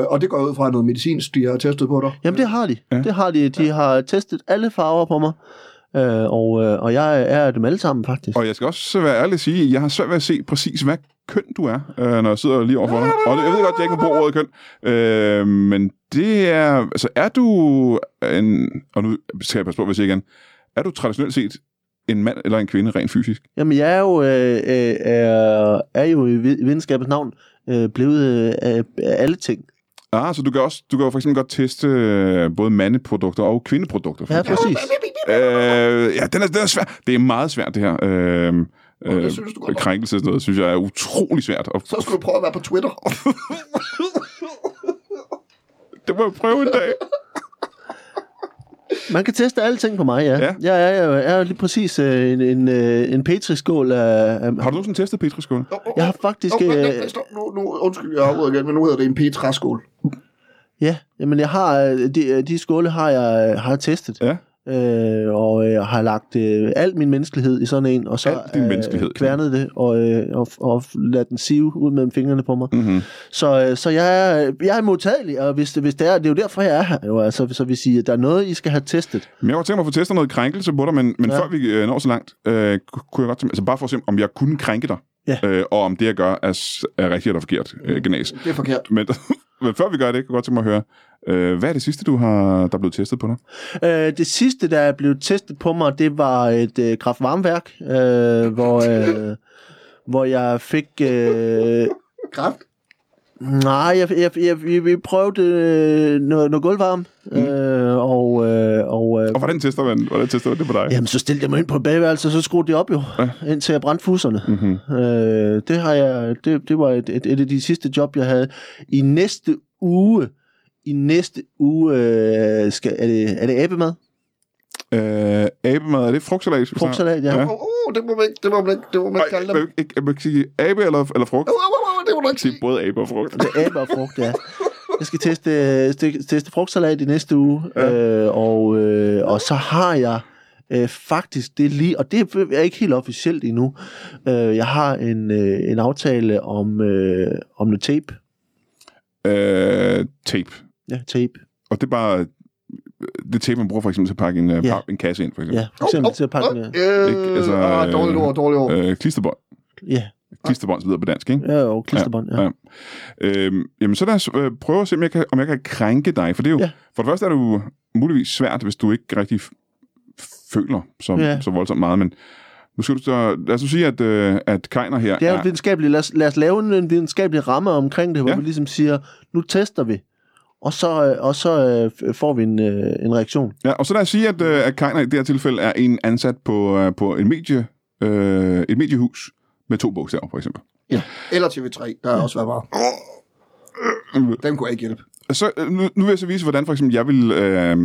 S3: Øh, og det går jeg ud fra noget medicinsk, de har testet på dig.
S2: Jamen, det har de.
S1: Ja.
S2: Ja. Det har de. De har testet alle farver på mig, øh, og, øh, og jeg er dem alle sammen, faktisk.
S1: Og jeg skal også være ærlig og sige, jeg har svært ved at se præcis, hvad køn du er, øh, når jeg sidder lige overfor dig. Og det, jeg ved godt, jeg ikke må bruge ordet køn, øh, men det er... Altså, er du en... Og nu skal jeg passe på, hvis jeg igen. Er du traditionelt set en mand eller en kvinde rent fysisk?
S2: Jamen, jeg er jo, øh, øh, er, er jo i vi- videnskabens navn øh, blevet øh, af af alle ting.
S1: Ah, så du kan, også, du kan jo for eksempel godt teste øh, både mandeprodukter og kvindeprodukter. for
S2: Ja,
S1: eksempel.
S2: præcis.
S1: Øh, ja, den er, den er svær. Det er meget svært, det her. Øh,
S3: det
S1: øh,
S3: synes du godt om.
S1: krænkelse og sådan noget, synes jeg er utrolig svært. Og,
S3: Så skulle du prøve at være på Twitter.
S1: det må jeg prøve en dag.
S2: Man kan teste alle ting på mig, ja.
S1: Ja.
S2: ja. Jeg er, jo- er jo lige præcis øh, en, en, øh, en petriskål af... af
S1: Har du nogensinde testet petriskål?
S2: jeg har faktisk...
S3: Oh,
S2: Øh,
S3: nu, nu, undskyld, jeg afbryder igen, men nu hedder det en Petra-skål.
S2: ja, jamen jeg har... øh, De, øh, de skåle har jeg øh, har jeg testet.
S1: Ja.
S2: Øh, og jeg øh, har lagt øh, al min menneskelighed i sådan en, og så øh,
S1: Al din menneskelighed.
S2: kværnet det, og, øh, og, og ladt den sive ud mellem fingrene på mig.
S1: Mm-hmm.
S2: Så, øh, så jeg, er, jeg er modtagelig, og hvis det, hvis det er, det er jo derfor, jeg er her. Jo, altså, så vi siger, at der er noget, I skal have testet.
S1: Men jeg kunne tænke mig at få testet noget krænkelse på dig, men, men ja.
S2: Ja.
S1: før vi øh, når så langt, øh, ku- kunne jeg godt tænke mig, altså bare for at se, om jeg kunne krænke dig,
S2: Ja.
S1: øh, og om det, jeg gør, er, s- er rigtigt eller forkert, øh, genas.
S3: Det er forkert.
S1: Men, men før vi gør det, kunne jeg godt tænke mig at høre, øh, hvad er det sidste, du har, der er blevet testet på dig?
S2: Øh, det sidste, der er blevet testet på mig, det var et øh, kraftvarmeværk, øh, hvor, øh, hvor jeg fik... Øh,
S3: Kraft.
S2: nej, jeg, jeg, jeg, jeg, jeg prøvede øh, noget, noget gulvvarme, øh, og... Øh, og øh,
S1: Og hvordan tester man, hvordan tester man det på dig?
S2: Jamen, så stillede jeg mig ind på et bagværelse, og så skruede de op jo,
S1: Ja.
S2: ja. indtil jeg brændte fuserne.
S1: Mm-hmm.
S2: Øh, det, har jeg, det, det var et, et, et af de sidste job, jeg havde. I næste uge, i næste uge, øh, skal, er, det, er det æbemad?
S1: Øh, abemad, er det frugtsalat? vi snakker om?
S2: Frugtsalat, ja.
S1: Ja.
S2: ja.
S3: Åh, oh, det må man ikke, det må man ikke, det må man
S1: Nej,
S3: ikke kalde
S1: jeg
S3: dem.
S1: må ikke- jeg må ikke sige abe eller, eller frugt.
S3: Åh, åh, åh, det må du ikke
S1: Det
S3: sige.
S1: er både abe og frugt.
S2: Det er æbe og frugt, ja. Jeg skal teste, øh, sti- teste frugtsalat i næste uge, øh, og, øh, og så har jeg øh, faktisk det lige, og det er ikke helt officielt endnu, øh, jeg har en, øh, en aftale om, øh, om noget tape.
S1: Øh, tape.
S2: Ja, tape.
S1: Og det er bare det tape, man bruger for eksempel til at pakke en,
S2: Ja.
S1: ja. en kasse ind, for eksempel.
S2: Ja, for eksempel til at pakke den,
S3: Øh,
S1: Ikke, altså,
S3: ah, dårligt
S1: øh,
S3: ord, dårligt ord.
S1: Øh, klisterbånd.
S2: ja,
S1: Klisterbånd, så videre på dansk, ikke?
S2: ja, og klisterbånd, ja.
S1: Ja. Øhm, jamen, så lad os øh, prøve at se, om jeg, kan, om jeg kan krænke dig. For det er jo, ja.
S2: Ja.
S1: for det første er det jo muligvis svært, hvis du ikke rigtig f- føler så, ja.
S2: Ja.
S1: så voldsomt meget. Men nu skal du så, lad os nu sige, at, øh, at Kejner her
S2: Det er jo
S1: er...
S2: et videnskabeligt. Lad os, lad os lave en, en videnskabelig ramme omkring det, hvor
S1: Ja.
S2: ja. vi ligesom siger, nu tester vi, og så, øh, og så øh, f- får vi en, øh, en reaktion.
S1: Ja, og så lad os sige, at, øh, at Kejner i det her tilfælde er en ansat på, øh, på en medie, øh, et mediehus med to
S2: øh,
S1: bogstaver, for eksempel.
S3: Eller TV3, der har også været meget. Den kunne jeg ikke hjælpe.
S1: Så, øh, nu, nu vil jeg så vise, hvordan for eksempel jeg vil... Øh, øh,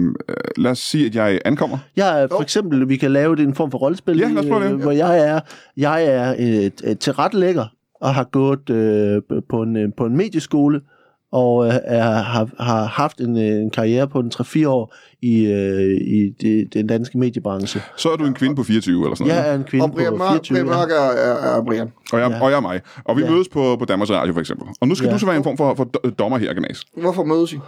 S1: lad os sige, at jeg ankommer.
S2: Jeg er øh, for eksempel, vi kan lave det i en form for rollespil,
S1: Ja, lad os prøve det.
S2: øh, hvor jeg er, jeg er et, et tilrettelægger og har gået øh, på, en, øh, på en medieskole og øh, er, har, har haft en, øh, en karriere på en 3-4 år i, øh, i det, den danske mediebranche.
S1: Så er du en kvinde på 24 eller sådan noget.
S2: Jeg er en kvinde
S3: Og Brian
S2: på
S3: Mørk,
S2: 24.
S3: Brian
S2: ja.
S3: Mørk er, er, er Brian.
S1: Og jeg,
S2: Ja.
S1: ja. og jeg er mig. Og vi
S2: Ja.
S1: ja. mødes på, på Danmarks Radio, for eksempel. Og nu skal
S2: Ja.
S1: ja. du så være en form for, for do- dommer her, Gnas.
S3: Hvorfor mødes I?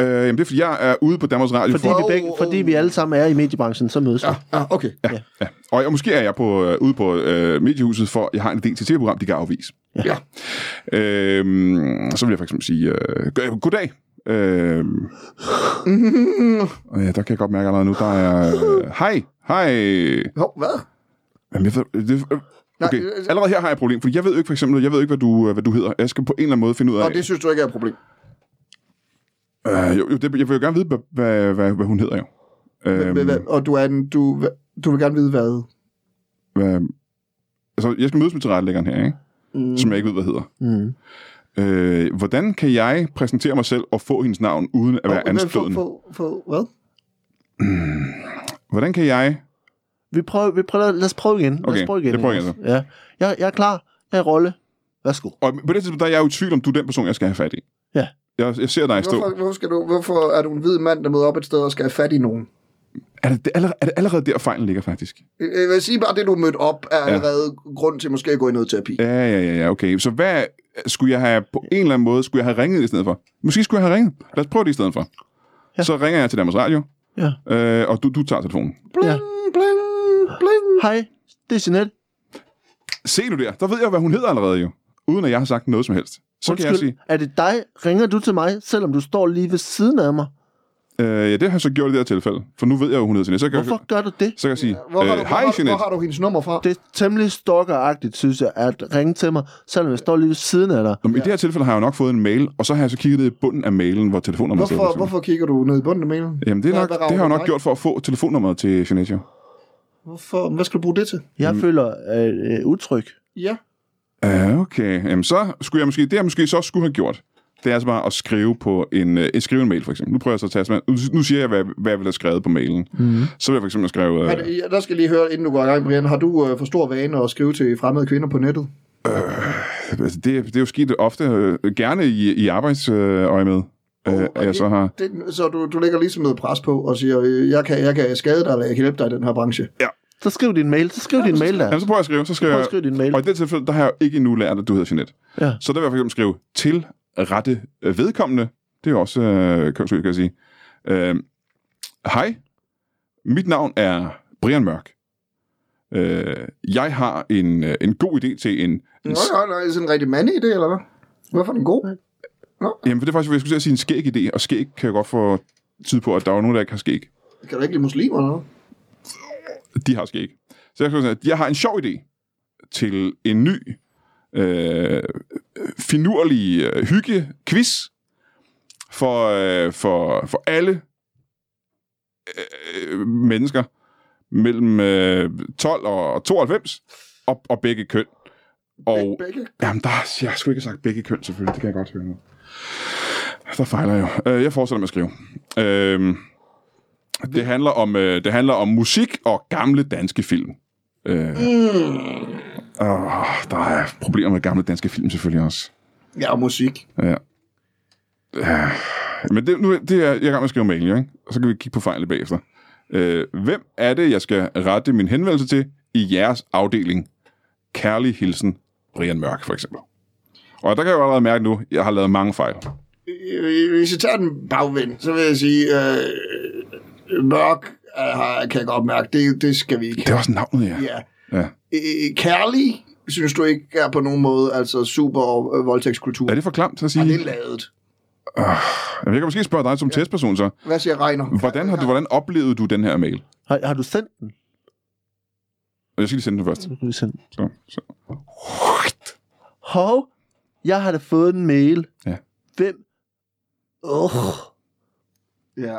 S1: Øh, jamen, det er, fordi jeg er ude på Danmarks Radio.
S2: Fordi,
S1: for,
S2: vi begge,
S3: Wow.
S2: fordi vi alle sammen er i mediebranchen, så mødes vi. Ja.
S3: Ah, okay. Ja.
S1: ja. Og jeg, måske er jeg på, øh, ude på øh, mediehuset, for jeg har en idé til tv-program, de kan afvise.
S3: ja.
S1: Øhm, så vil jeg for eksempel sige, øh, go- goddag. Øhm, og ja, der kan jeg godt mærke allerede nu, der er... Øh, hej, hej.
S3: Hov, hvad?
S1: Jamen, jeg ved, det, øh, okay,
S3: Nej, øh,
S1: allerede her har jeg et problem, fordi jeg ved jo ikke for eksempel, jeg ved ikke, hvad du, øh, hvad du hedder. Jeg skal på en eller anden måde finde ud af...
S3: Og det synes du ikke er et problem.
S1: Øh, jo, jo, det, jeg vil jo gerne vide, hvad, hvad, hvad, hvad hun hedder jo. Øhm,
S3: Øhm. Og du, er den, du, du vil gerne vide, hvad...
S1: hvad, altså, jeg skal mødes med tilrettelæggeren her, ikke? Mm. som jeg ikke ved, hvad hedder.
S2: Mm.
S1: Øh, hvordan kan jeg præsentere mig selv og få hendes navn, uden at være
S3: Hov, hvad-
S1: anstødende?
S3: For, for, for, hvad?
S1: Hvordan kan jeg...
S2: Vi prøver, vi prøver, lad os prøve igen. lad os
S1: Okay,
S2: prøve igen.
S1: det prøver jeg
S2: Jonas. Ja. Jeg, jeg er klar. Jeg er i rolle. Værsgo.
S1: Og på det tidspunkt, der er jeg jo i tvivl om, du er den person, jeg skal have fat i.
S2: Ja.
S1: Jeg, jeg ser dig stå.
S3: Hvorfor, hvorfor, skal du, hvorfor er du en hvid mand, der møder op et sted og skal have fat i nogen?
S1: Er det, det er allerede, er det allerede der, fejlen ligger, faktisk?
S3: Øh, Jeg vil sige bare, at det du mødte op, er allerede grund til måske at gå i noget terapi.
S1: Ja, ja, ja, ja, okay. Så hvad skulle jeg have på en eller anden måde, skulle jeg have ringet i stedet for? Måske skulle jeg have ringet. Lad os prøve det i stedet for. Ja. Så ringer jeg til Danmarks Radio,
S2: Ja.
S1: øh, og du, du tager telefonen.
S2: ja.
S3: Bling, bling.
S2: Hej, det er Jeanette.
S1: Se nu der, der ved jeg, hvad hun hedder allerede jo. Uden at jeg har sagt noget som helst. Så Undskyld. kan jeg sige,
S2: er det dig? Ringer du til mig, selvom du står lige ved siden af mig?
S1: øh, ja, det har jeg så gjort i det her tilfælde. For nu ved jeg jo, hun hedder Jeanette. Så kan,
S2: Hvorfor
S1: Jeg,
S2: gør du det?
S1: så kan jeg sige,
S3: Hvor har,
S1: øh,
S3: du,
S1: hej
S3: hvor, har, hvor
S1: Jeanette.
S3: har du hendes nummer fra?
S2: Det er temmelig stalkeragtigt, synes jeg, at ringe til mig, selvom jeg står lige ved siden af dig.
S1: Nå, men I det her tilfælde har jeg jo nok fået en mail, og så har jeg så kigget ned i bunden af mailen, hvor telefonnummeret sidder, for
S3: Hvorfor,
S1: eksempel.
S3: hvorfor kigger du ned i bunden af mailen?
S1: Jamen, det, er
S3: Hvad-
S1: nok,
S3: hvad
S1: det har jeg
S3: rager
S1: nok
S3: dig?
S1: gjort for at få telefonnummeret til Jeanette. jo.
S3: Hvorfor? Hvad skal du bruge det til?
S2: Jeg føler øh, øh, utryg.
S3: Ja.
S1: Ja, okay. Jamen, så skulle jeg måske, det jeg måske så skulle have gjort, det er altså bare at skrive på en, øh, skrive en mail, for eksempel. Nu prøver jeg så at tage, nu, nu siger jeg, hvad, hvad jeg ville have skrevet på mailen. Mm. Så vil jeg for eksempel skrive,
S3: Men,
S1: øh,
S3: ja, der skal jeg lige høre, inden du går i gang, Brian. Har du øh, for stor vane at skrive til fremmede kvinder på nettet?
S1: altså, det, det er jo sket ofte, øh, gerne i, i arbejdsøje med, øh, at jeg så har...
S3: Det, så du, du lægger ligesom noget pres på og siger, øh, jeg kan, jeg kan skade dig, eller jeg kan hjælpe dig i den her branche.
S2: Så skriv din mail. Så skriv din mail der.
S1: Jamen, så prøver jeg at skrive, så skriver
S2: Prøv at
S1: jeg...
S2: skrive din mail.
S1: Og i det tilfælde, der har jeg jo ikke endnu lært, at du hedder Jeanette.
S2: Ja.
S1: Så der vil jeg for eksempel skrive til rette øh, vedkommende. Det er jo også øh, kønsøg, kan jeg sige. Øh, Hej, mit navn er Brian Mørk. Øh, jeg har en, øh, en god idé til en... en
S3: Nå, nej, nej, er det sådan en rigtig mandidé, eller hvad? Hvorfor er den god?
S1: jamen, for det er faktisk, hvad jeg skulle til at sige, en skæg idé, og skæg kan jeg godt få tid på, at der er jo nogen, der ikke har skæg.
S3: Kan du ikke lide muslimer eller noget?
S1: De har skæg. Så jeg skulle sige, jeg har en sjov idé til en ny, øh, finurlig øh, hygge-quiz for, øh, for, for alle øh, mennesker mellem øh, 12 og 92 og, og begge køn. Og,
S3: Begge?
S1: jamen, der, jeg skulle ikke have sagt begge køn, selvfølgelig. Det kan jeg godt høre nu. Der fejler jeg jo. Øh, Jeg fortsætter med at skrive. Øh, det, handler om, øh, det handler om musik og gamle danske film. Øh, åh, der er problemer med gamle danske film selvfølgelig også.
S3: Ja, og musik.
S1: Ja. Ja. Men det, nu, det er, jeg er i gang med at skrive mail, jo, ikke? Og så kan vi kigge på fejlene bagefter. Øh, hvem er det, jeg skal rette min henvendelse til i jeres afdeling? Kærlig hilsen, Brian Mørk, for eksempel. Og der kan jeg jo allerede mærke nu, at jeg har lavet mange fejl.
S3: Øh, Hvis jeg tager den bagvendt, så vil jeg sige, øh, mørk øh, har- kan jeg godt mærke, det, det skal vi ikke
S1: Det er også navnet, ja.
S3: Ja.
S1: ja.
S3: Øh, Kærlig, synes du ikke er på nogen måde altså super øh, voldtægtskultur?
S1: Er det for klamt at sige?
S3: Og det er
S1: Jamen,
S3: ladet.
S1: Jeg kan måske spørge dig som testperson så.
S3: Hvad siger Reiner?
S1: Hvordan, har du, hvordan oplevede du den her mail?
S2: Har, har du sendt den?
S1: Og jeg skal lige sende den først.
S2: Så kan vi sende den.
S1: Så, så.
S2: Hov, jeg har da fået en mail.
S1: Ja.
S2: Hvem? Åh.
S3: Ja.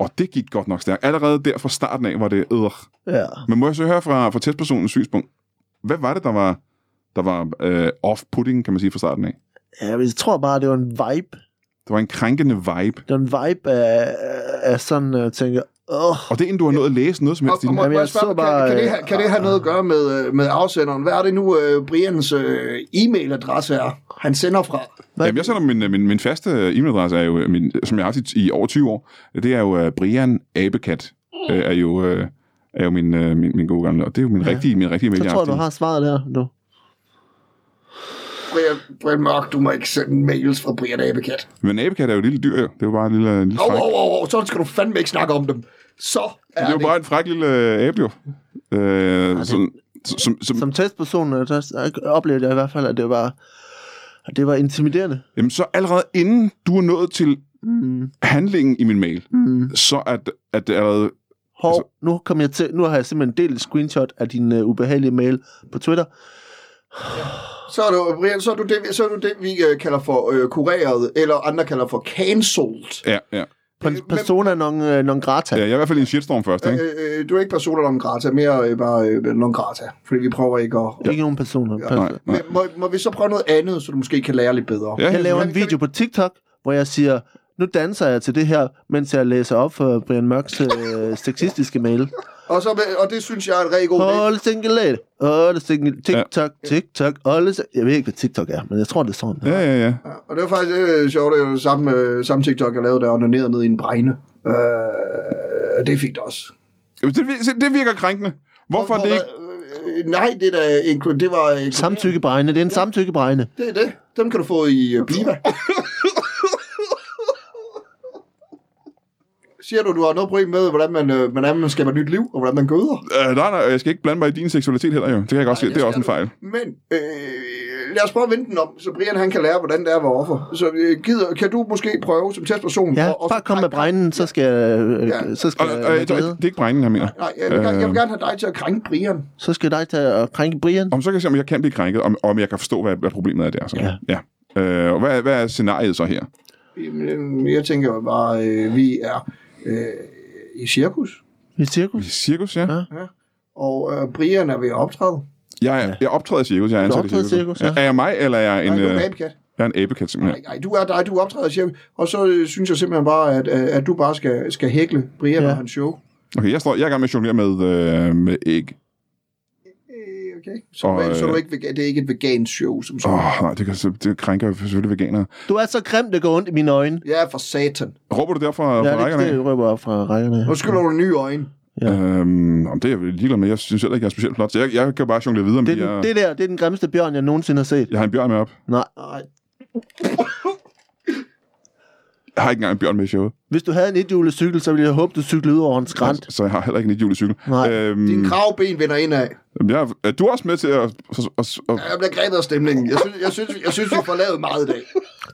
S1: Og det gik godt nok stærkt. Allerede der fra starten af var det øh.
S2: Ja.
S1: Men må jeg så høre fra, fra testpersonens synspunkt, hvad var det, der var, der var øh, off-putting, kan man sige, fra starten af?
S2: ja, men jeg tror bare, det var en vibe.
S1: Det Der var en krænkende vibe.
S2: Der er en vibe af, af sådan, at tænke, åh,
S1: Og det er inden du har nået at læse noget som
S3: Og,
S1: helst.
S3: og
S1: inden.
S3: må,
S2: Jamen,
S3: må jeg
S2: jeg
S3: spørge,
S2: så
S3: bare,
S2: bare,
S3: kan, kan, det, have- kan det have noget at gøre med, øh, med afsenderen? Hvad er det nu, øh, Brians øh, e-mailadresse er, han sender fra?
S2: hvad-
S1: Jamen, jeg sender min, min, min faste øh, e-mailadresse, er jo, min, som jeg har haft i, i over 20 år. Det er jo uh, Brian Abekat, uh, er jo, uh, er jo min, uh, min, min gode gamle. Og det er jo min ja. rigtige, min rigtige mail.
S2: så
S1: jeg
S2: tror jeg, du
S1: haft i-
S2: har svaret der nu.
S3: Brian, Brian Mørk, du må ikke sende mails fra Brian Abekat.
S1: Men Abekat er jo et lille dyr, jo. Det er jo bare en lille, en lille
S3: Åh,
S1: fræk.
S3: åh, åh, åh, så skal du fandme ikke snakke om dem. Så er
S1: Det er jo
S3: det.
S1: bare en fræk lille øh, abe, jo. Øh, som, som, som,
S2: Som testperson, øh, der s- oplevede jeg i hvert fald, at det var, at det var intimiderende.
S1: Jamen, så allerede inden du er nået til
S2: Mm.
S1: handlingen i min mail,
S2: Mm.
S1: så at, at det allerede...
S2: Hov,
S1: Altså-
S2: altså, nu, kom jeg til, nu har jeg simpelthen delt et screenshot af din uh, ubehagelige mail på Twitter.
S3: Så er du, Brian, så er du det, så er du det vi øh, kalder for øh, kureret, eller andre kalder for cancelled.
S1: Ja, ja.
S2: På
S3: Øh, men-
S2: persona non, øh, non grata.
S1: ja jeg er i hvert fald i en shitstorm først, ikke?
S3: Øh, øh, du er ikke persona non grata, mere øh, bare øh, non grata, fordi vi prøver ikke at...
S2: Ja. Ikke nogen personer. Ja,
S1: Nej, nej.
S3: Men, må, må vi så prøve noget andet, så du måske kan lære lidt bedre?
S1: Ja,
S2: øh, Jeg laver en video på TikTok, hvor jeg siger, nu danser jeg til det her, mens jeg læser op for Brian Mørks øh, sexistiske mail.
S3: Og, så, med- og det synes jeg er en rigtig god idé.
S2: All single lady, all single,
S1: Ja.
S2: TikTok, TikTok, all single. Jeg ved ikke, hvad TikTok er, men jeg tror, det er sådan.
S1: Ja, ja, ja.
S3: Ja, Og det var faktisk øh, sjovt, det var det samme, øh, samme TikTok, jeg lavede, der onanerede ned i en bregne. Øh, det er fint også.
S1: Jamen, Det, vir- se, det virker krænkende. Hvorfor er det ikke...
S3: ikke? Øh, nej, det der det var... øh,
S2: Samtykkebregne, det er en samtykkebregne.
S3: Det er det. Dem kan du få i øh, Bliva. Siger du, du har noget problem med, hvordan man, øh, hvordan man skaber nyt liv, og hvordan man gøder?
S1: Øh, nej, nej, jeg skal ikke blande mig i din seksualitet heller, jo. Det kan jeg godt se. Det er også en fejl.
S3: Men øh, lad os prøve at vende den om, så Brian han kan lære, hvordan det er at være offer. Så øh, gider, kan du måske prøve som testperson...
S2: Ja,
S3: og, og,
S2: bare kom med bregnen, så skal jeg,
S3: Ja.
S2: øh, så
S1: Og,
S2: skal
S1: og,
S2: jeg
S1: og,
S2: være
S1: det,
S2: glad.
S1: det er ikke brændingen, jeg mener.
S3: Nej, jeg vil, øh, gerne, jeg vil gerne have dig til at krænke Brian.
S2: Så skal dig til at krænke Brian.
S1: Om så kan jeg se, om jeg kan blive krænket, om, om jeg kan forstå, hvad, hvad problemet er der. Så.
S2: Ja. Mm.
S1: ja. Øh, og hvad, er- hvad er scenariet så her?
S3: Jamen, øh, Jeg tænker jo bare, øh, vi er øh, i cirkus,
S2: I cirkus.
S1: Cirkus, ja.
S2: Ja.
S3: og øh, Brian er ved at optræde.
S1: Jeg, er, jeg optræder i cirkus, jeg er ansat i
S2: optræder i
S1: cirkus.
S2: cirkus, ja.
S1: Er jeg mig, eller er jeg en,
S3: Nej, du er
S1: øh,
S3: en abekat.
S1: jeg er en abekat, simpelthen?
S3: Nej, nej, du er dig, du optræder i cirkus. Og så øh, synes jeg simpelthen bare, at, øh, at du bare skal, skal hækle Brian ja.
S2: Ja.
S3: og hans show.
S1: Okay, jeg, står, jeg er i gang med at jonglere med, øh, med æg.
S3: Øh, Okay. Så,
S1: Og,
S3: og, så er
S1: øh,
S3: du ikke vegan, det er ikke et vegansk show, som
S1: Åh,
S3: sådan.
S1: oh, nej, det, kan, det krænker jo selvfølgelig veganere.
S2: Du er så grim, det går ondt i mine øjne.
S3: Ja, for satan.
S1: Råber du der fra, ja,
S2: Ja,
S1: fra rækkerne?
S2: det, det røber op fra rækkerne.
S3: Nu skylder du nye øjne.
S2: ja.
S1: Øhm, om det er jeg vel ligeglad med. Jeg synes heller ikke, jeg er specielt flot. Så jeg, jeg kan bare jonglere videre med,
S2: Det, er
S1: jeg,
S2: den, det der, det er den grimmeste bjørn, jeg nogensinde har set.
S1: jeg har en bjørn med op.
S2: Nej.
S3: Nej.
S1: Jeg har ikke engang en bjørn med i showet.
S2: Hvis du havde en ethjulet cykel, så ville jeg håbe, du cyklede ud over en skrant.
S1: Så, så jeg har heller ikke en ethjulet cykel.
S2: Nej.
S1: Øhm,
S3: Din kravben vender indad.
S1: jeg, er du også med til at... at, at, at
S3: Jeg bliver grebet af stemningen. Jeg synes, jeg synes, jeg synes vi får lavet meget i dag.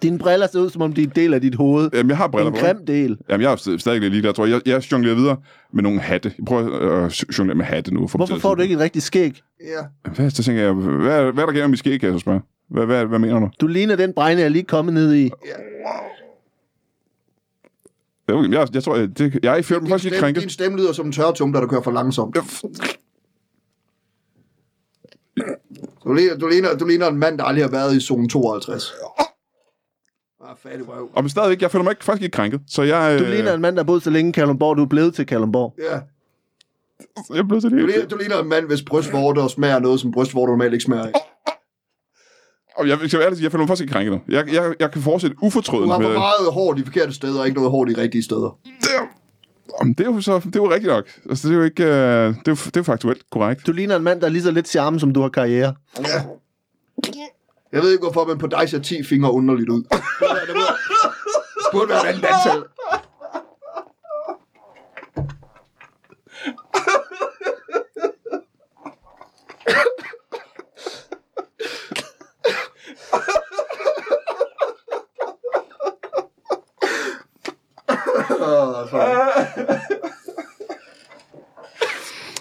S2: Dine briller ser ud, som om de er en del af dit hoved.
S1: jamen, jeg har briller
S2: En
S1: på.
S2: grim del.
S1: Jamen, jeg er st- stadig lidt ligeglad, tror jeg. Jeg, jeg jonglerer videre med nogle hatte. Jeg prøver at øh, jonglere med hatte nu. For
S2: Hvorfor får du ikke et rigtigt skæg?
S3: Ja.
S1: Hvad, så tænker jeg, hvad, hvad er der galt med mit skæg, kan jeg så spørge? Hvad, hvad, hvad mener du?
S2: Du ligner den bregne, jeg er lige kommet ned i.
S1: Jeg, jeg, jeg tror, jeg, det, jeg føler mig faktisk lidt
S3: Din,
S1: krænket.
S3: din stemme lyder som en tørretumler, der kører for langsomt. Du ligner, du, ligner, du ligner en mand, der aldrig har været i zone 52. Ah, fattig røv.
S1: Og men stadigvæk, jeg føler mig ikke, faktisk ikke krænket. Så jeg... øh,
S2: Du ligner en mand, der har boet så længe i Kalundborg, du er blevet til Kalundborg.
S3: Ja.
S1: Jeg blev så
S3: Du,
S1: det.
S3: ligner, du ligner en mand, hvis brystvorter smager noget, som brystvorter normalt ikke smager af.
S1: Og jeg, skal være ærlig, jeg føler mig faktisk ikke krænket nu. Jeg, jeg, jeg kan fortsætte
S3: Du
S1: ufortrødent
S3: har
S1: med...
S3: for meget hår de forkerte steder, og ikke noget hår de rigtige steder.
S1: Jamen, det er jo så, det er jo rigtigt nok. Altså, det er jo ikke... Øh, det, er jo, det er jo faktuelt korrekt.
S2: Du ligner en mand, der er lige så lidt charme, som du har karriere.
S3: Jeg ved ikke, hvorfor, men på dig ser 10 fingre underligt ud. Det burde være- det burde- det burde være et andet antal.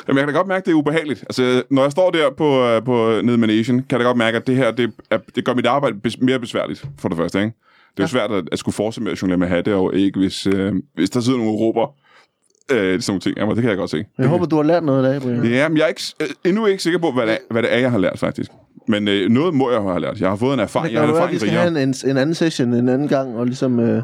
S1: Jamen, jeg kan da godt mærke, at det er ubehageligt. Altså, når jeg står der på, øh, på nede med Nation, kan jeg da godt mærke, at det her, det, er, det gør mit arbejde bes, mere besværligt, for det første, ikke? Det er jo svært at, at skulle fortsætte med at jonglere med hatte og ikke, hvis, øh, hvis der sidder nogle og råber øh, sådan nogle ting. Jamen, det kan jeg godt se.
S2: Jeg håber, du har lært noget i dag, Brian.
S1: Ja, men jeg er ikke, øh, endnu ikke sikker på, hvad det, er, hvad det er, jeg har lært, faktisk. Men øh, noget må jeg have lært. Jeg har fået en erfaring.
S2: Det
S1: Jeg har en
S2: kan være, at vi
S1: erfaring
S2: skal
S1: rigere.
S2: have en, en, en anden session en anden gang, og ligesom øh,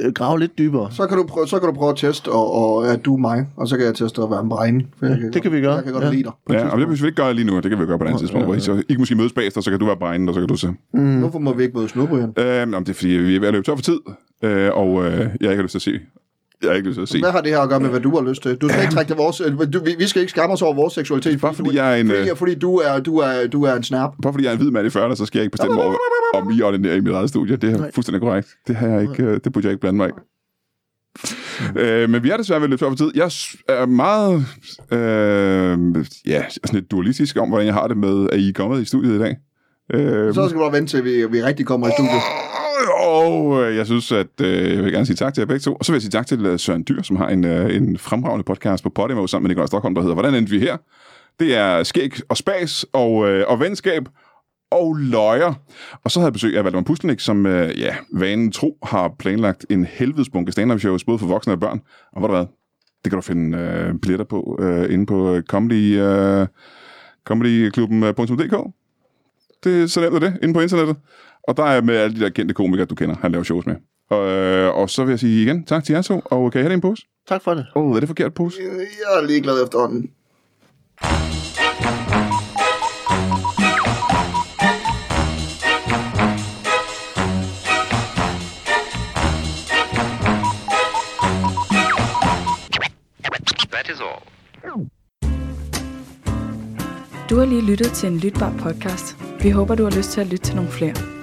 S2: ja. grave lidt dybere.
S3: Så kan du prøve, så kan du prøve at teste, og, og at du er mig, og så kan jeg teste at være en bregne. for jeg
S2: Mm, det kan vi gøre,
S3: Jeg kan godt
S2: ja.
S3: lide dig.
S1: Ja, og det vil vi ikke gøre lige nu. Det kan vi gøre på et andet tidspunkt. Hvor I så ikke måske mødes bagefter, så kan du være bregnen, og så kan du se.
S3: Mm. Hvorfor må vi ikke mødes nu, Brian?
S1: Øh, men det er fordi, vi er ved at løbe tør for tid, øh, og øh, jeg ikke har lyst til at se. Jeg har ikke lyst til at se.
S3: Hvad har det her at gøre med, hvad du har lyst til? Du skal ikke trække dig vores, øh, du, vi, vi skal ikke skamme os over vores seksualitet.
S1: Bare
S3: du,
S1: fordi jeg er en,
S3: Fordi,
S1: øh,
S3: fordi du, er, du, er, du er en snap.
S1: Bare fordi jeg er en hvid mand i 40'erne, så skal jeg ikke bestemme over, om I ordinerer i mit eget studie. Det er fuldstændig korrekt. Det, har jeg ikke, øh, det burde jeg ikke blande mig i. Øh, men vi er desværre ved at løbe tør for tid. Jeg s- er meget øh, ja, sådan lidt dualistisk om, hvordan jeg har det med, at I er kommet i studiet i dag. Øh,
S3: Så skal du bare vente til, vi, vi rigtig kommer i studiet.
S1: Og øh, jeg synes, at øh, jeg vil gerne sige tak til jer begge to. Og så vil jeg sige tak til øh, Søren Dyr, som har en, øh, en fremragende podcast på Podimo sammen med Nikolaj Stockholm, der hedder Hvordan endte vi her? Det er skæg og spas og, øh, og venskab og løjer. Og så havde jeg besøg af Valdemar Puslenik, som øh, ja, vanen tro har planlagt en helvedes bunke stand-up shows, både for voksne og børn. Og hvor der hvad? Det kan du finde øh, billetter på øh, inde på øh, comedy, øh, comedyklubben.dk. Det er så nemt er det, inde på internettet. Og der er med alle de der kendte komikere, du kender, han laver shows med. Og, øh, og så vil jeg sige igen, tak til jer to, og kan I have det i en pose?
S2: Tak for det.
S1: Åh, oh, er det forkert pose?
S3: Jeg er ligeglad efterhånden.
S7: That is all.
S8: Du har lige lyttet til en lytbar podcast. Vi håber, du har lyst til at lytte til nogle flere.